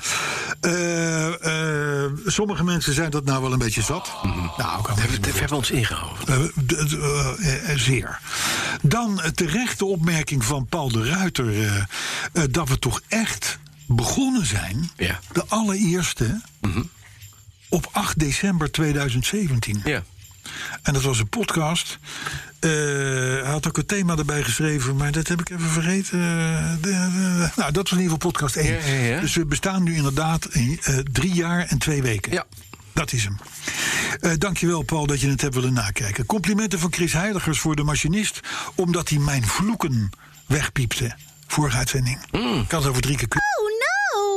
Speaker 2: Eh, eh, sommige mensen zijn dat nou wel een beetje zat. Nou, kan
Speaker 3: We Mhm. hebben, we hebben ons ingehouden.
Speaker 2: eh, d- d- eh, eh, zeer. Dan eh, terecht de opmerking van Paul de Ruiter... eh, eh, dat we toch echt begonnen zijn...
Speaker 3: Ja.
Speaker 2: de allereerste op 8 december 2017.
Speaker 3: Ja.
Speaker 2: En dat was een podcast. Eh, hij had ook het thema erbij geschreven, maar dat heb ik even vergeten. Eh, de- de- nou, dat was in ieder geval podcast 1.
Speaker 3: Ja, ja, ja.
Speaker 2: Dus we bestaan nu inderdaad in, eh, drie jaar en twee weken.
Speaker 3: Ja.
Speaker 2: Dat is hem. Eh dankjewel, Paul, dat je het hebt willen nakijken. Complimenten van Chris Heiligers voor de machinist, omdat hij mijn vloeken wegpiepte. Vorige uitzending.
Speaker 3: Mm.
Speaker 2: Ik had het over drie keer. k-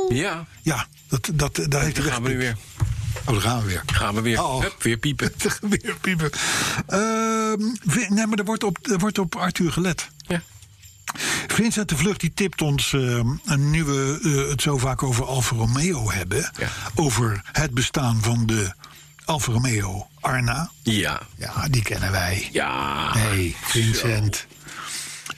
Speaker 3: Ja,
Speaker 2: Ja, dat, dat, daar heeft
Speaker 3: dan
Speaker 2: hij
Speaker 3: gaan we nu weer.
Speaker 2: weggepiepst. Oh, daar gaan we weer.
Speaker 3: Gaan we weer.
Speaker 2: Oh.
Speaker 3: Hup, weer piepen.
Speaker 2: Weer piepen. Ehm, vi- nee, maar er wordt, op, er wordt op Arthur gelet.
Speaker 3: Ja.
Speaker 2: Vincent de Vlucht die tipt ons, ehm, en nu we eh, het zo vaak over Alfa Romeo hebben...
Speaker 3: Ja.
Speaker 2: over het bestaan van de Alfa Romeo Arna.
Speaker 3: Ja.
Speaker 2: Ja, die kennen wij.
Speaker 3: Ja.
Speaker 2: hey, Vincent.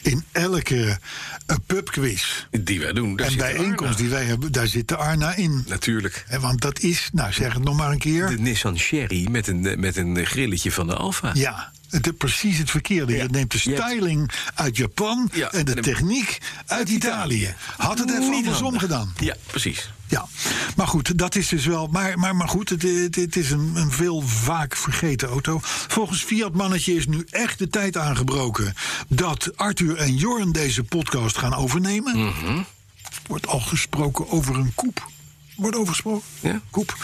Speaker 2: In elke eh, pubquiz
Speaker 3: Die wij doen. Daar
Speaker 2: en
Speaker 3: zit de
Speaker 2: bijeenkomst
Speaker 3: Arna.
Speaker 2: die wij hebben, daar zit de Arna in.
Speaker 3: Natuurlijk.
Speaker 2: Hè, Want dat is, nou zeg het nog maar een keer...
Speaker 3: De Nissan Sherry met een, eh, met een eh, grilletje van de Alfa.
Speaker 2: Ja, het is precies het verkeerde. Je neemt de
Speaker 3: Je hebt-
Speaker 2: styling uit Japan
Speaker 3: Ja,
Speaker 2: en de
Speaker 3: en-
Speaker 2: techniek uit Italië. Had het even
Speaker 3: Niet
Speaker 2: andersom
Speaker 3: handig.
Speaker 2: gedaan.
Speaker 3: Ja, precies.
Speaker 2: Ja, maar goed, dat is dus wel. Maar, maar, maar goed, het, het, het is een, een veel vaak vergeten auto. Volgens Fiat Mannetje is nu echt de tijd aangebroken dat Arthur en Jorn deze podcast gaan overnemen. Wordt al gesproken over een koep. Wordt overgesproken.
Speaker 3: Ja.
Speaker 2: Koep.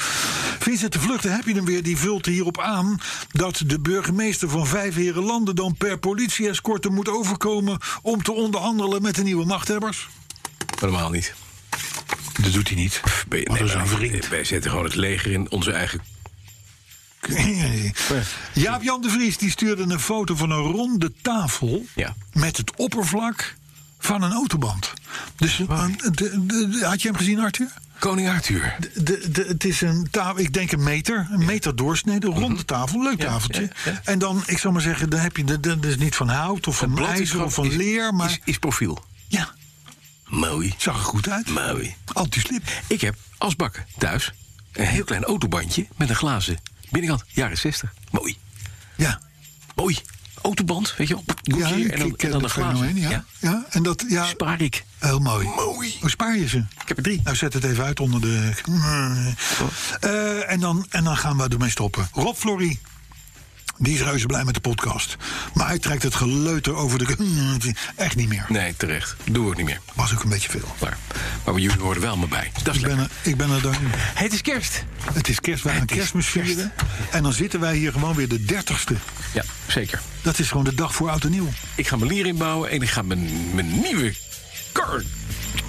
Speaker 2: Vincent de Vluchten, heb je hem weer? Die vult hierop aan dat de burgemeester van Vijf Heren Landen dan per politie-escorte moet overkomen om te onderhandelen met de nieuwe machthebbers.
Speaker 3: Normaal niet.
Speaker 2: Dat doet hij niet.
Speaker 3: Pff, ben je-
Speaker 2: Maar dat is
Speaker 3: wij-
Speaker 2: een vriend.
Speaker 3: Wij zetten gewoon het leger in onze eigen.
Speaker 2: Jaap-Jan de Vries die stuurde een foto van een ronde tafel...
Speaker 3: Ja.
Speaker 2: met het oppervlak van een autoband. Dus een- een- de- de- de- had je hem gezien, Arthur?
Speaker 3: Koning Arthur.
Speaker 2: De, de, het is een tafel, ik denk een meter, een meter doorsnede, een ronde tafel, leuk
Speaker 3: Mhm. Ja,
Speaker 2: tafeltje.
Speaker 3: ja, ja.
Speaker 2: En dan, ik zal maar zeggen, dan heb je, de- de- dat is niet van hout of van
Speaker 3: blad is
Speaker 2: ijzer
Speaker 3: gewoon-
Speaker 2: of van
Speaker 3: is-
Speaker 2: leer, maar
Speaker 3: Is, is profiel.
Speaker 2: ja,
Speaker 3: Mooi.
Speaker 2: zag er goed uit.
Speaker 3: Mooi.
Speaker 2: Anti-slip.
Speaker 3: Ik heb als bak thuis een heel klein autobandje met een glazen binnenkant. Jaren 60. Mooi.
Speaker 2: Ja,
Speaker 3: Mooi. Autoband, weet je wel.
Speaker 2: ja
Speaker 3: Doet je hier
Speaker 2: ik ik ken het fenomeen, ja. Ja. En dat, ja,
Speaker 3: Spaar ik.
Speaker 2: heel mooi.
Speaker 3: Mooi.
Speaker 2: Hoe spaar je ze?
Speaker 3: Ik heb er drie.
Speaker 2: Nou, zet het even uit onder de. Eh, en, dan, en dan gaan we ermee stoppen. Rob Flory. Die is reuze blij met de podcast. Maar hij trekt het geleuter over de. Echt niet meer.
Speaker 3: Nee, terecht. Doen we ook niet meer.
Speaker 2: Was ook een beetje veel.
Speaker 3: Maar, maar jullie horen wel me bij. Dat is
Speaker 2: Ik ben
Speaker 3: lekker.
Speaker 2: er, ik ben er dan.
Speaker 3: Het is kerst.
Speaker 2: Het is kerst, wij gaan
Speaker 3: Het is
Speaker 2: kerstmis
Speaker 3: kerst.
Speaker 2: vieren. En dan zitten wij hier gewoon weer de 30ste.
Speaker 3: Ja, zeker.
Speaker 2: Dat is gewoon de dag voor oud en nieuw.
Speaker 3: Ik ga mijn lier inbouwen en ik ga mijn, mijn nieuwe car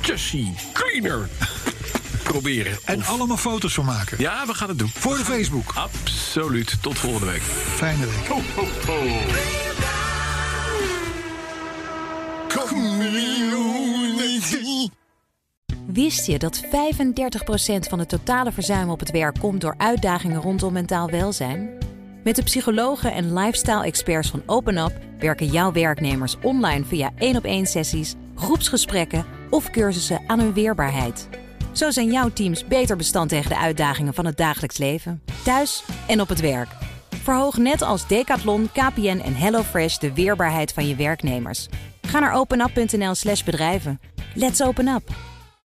Speaker 3: chassis cleaner proberen.
Speaker 2: En allemaal foto's van maken.
Speaker 3: Ja, we gaan het doen.
Speaker 2: Voor de Facebook.
Speaker 3: Absoluut. Tot volgende week.
Speaker 2: Fijne week.
Speaker 7: Wist je dat 35% van het totale verzuim op het werk komt door uitdagingen rondom mentaal welzijn? Met de psychologen en lifestyle-experts van OpenUp werken jouw werknemers online via 1-op-1 sessies, groepsgesprekken of cursussen aan hun weerbaarheid. Zo zijn jouw teams beter bestand tegen de uitdagingen van het dagelijks leven, thuis en op het werk. Verhoog net als Decathlon, KPN en HelloFresh de weerbaarheid van je werknemers. Ga naar openup.nl/slash bedrijven. Let's open up!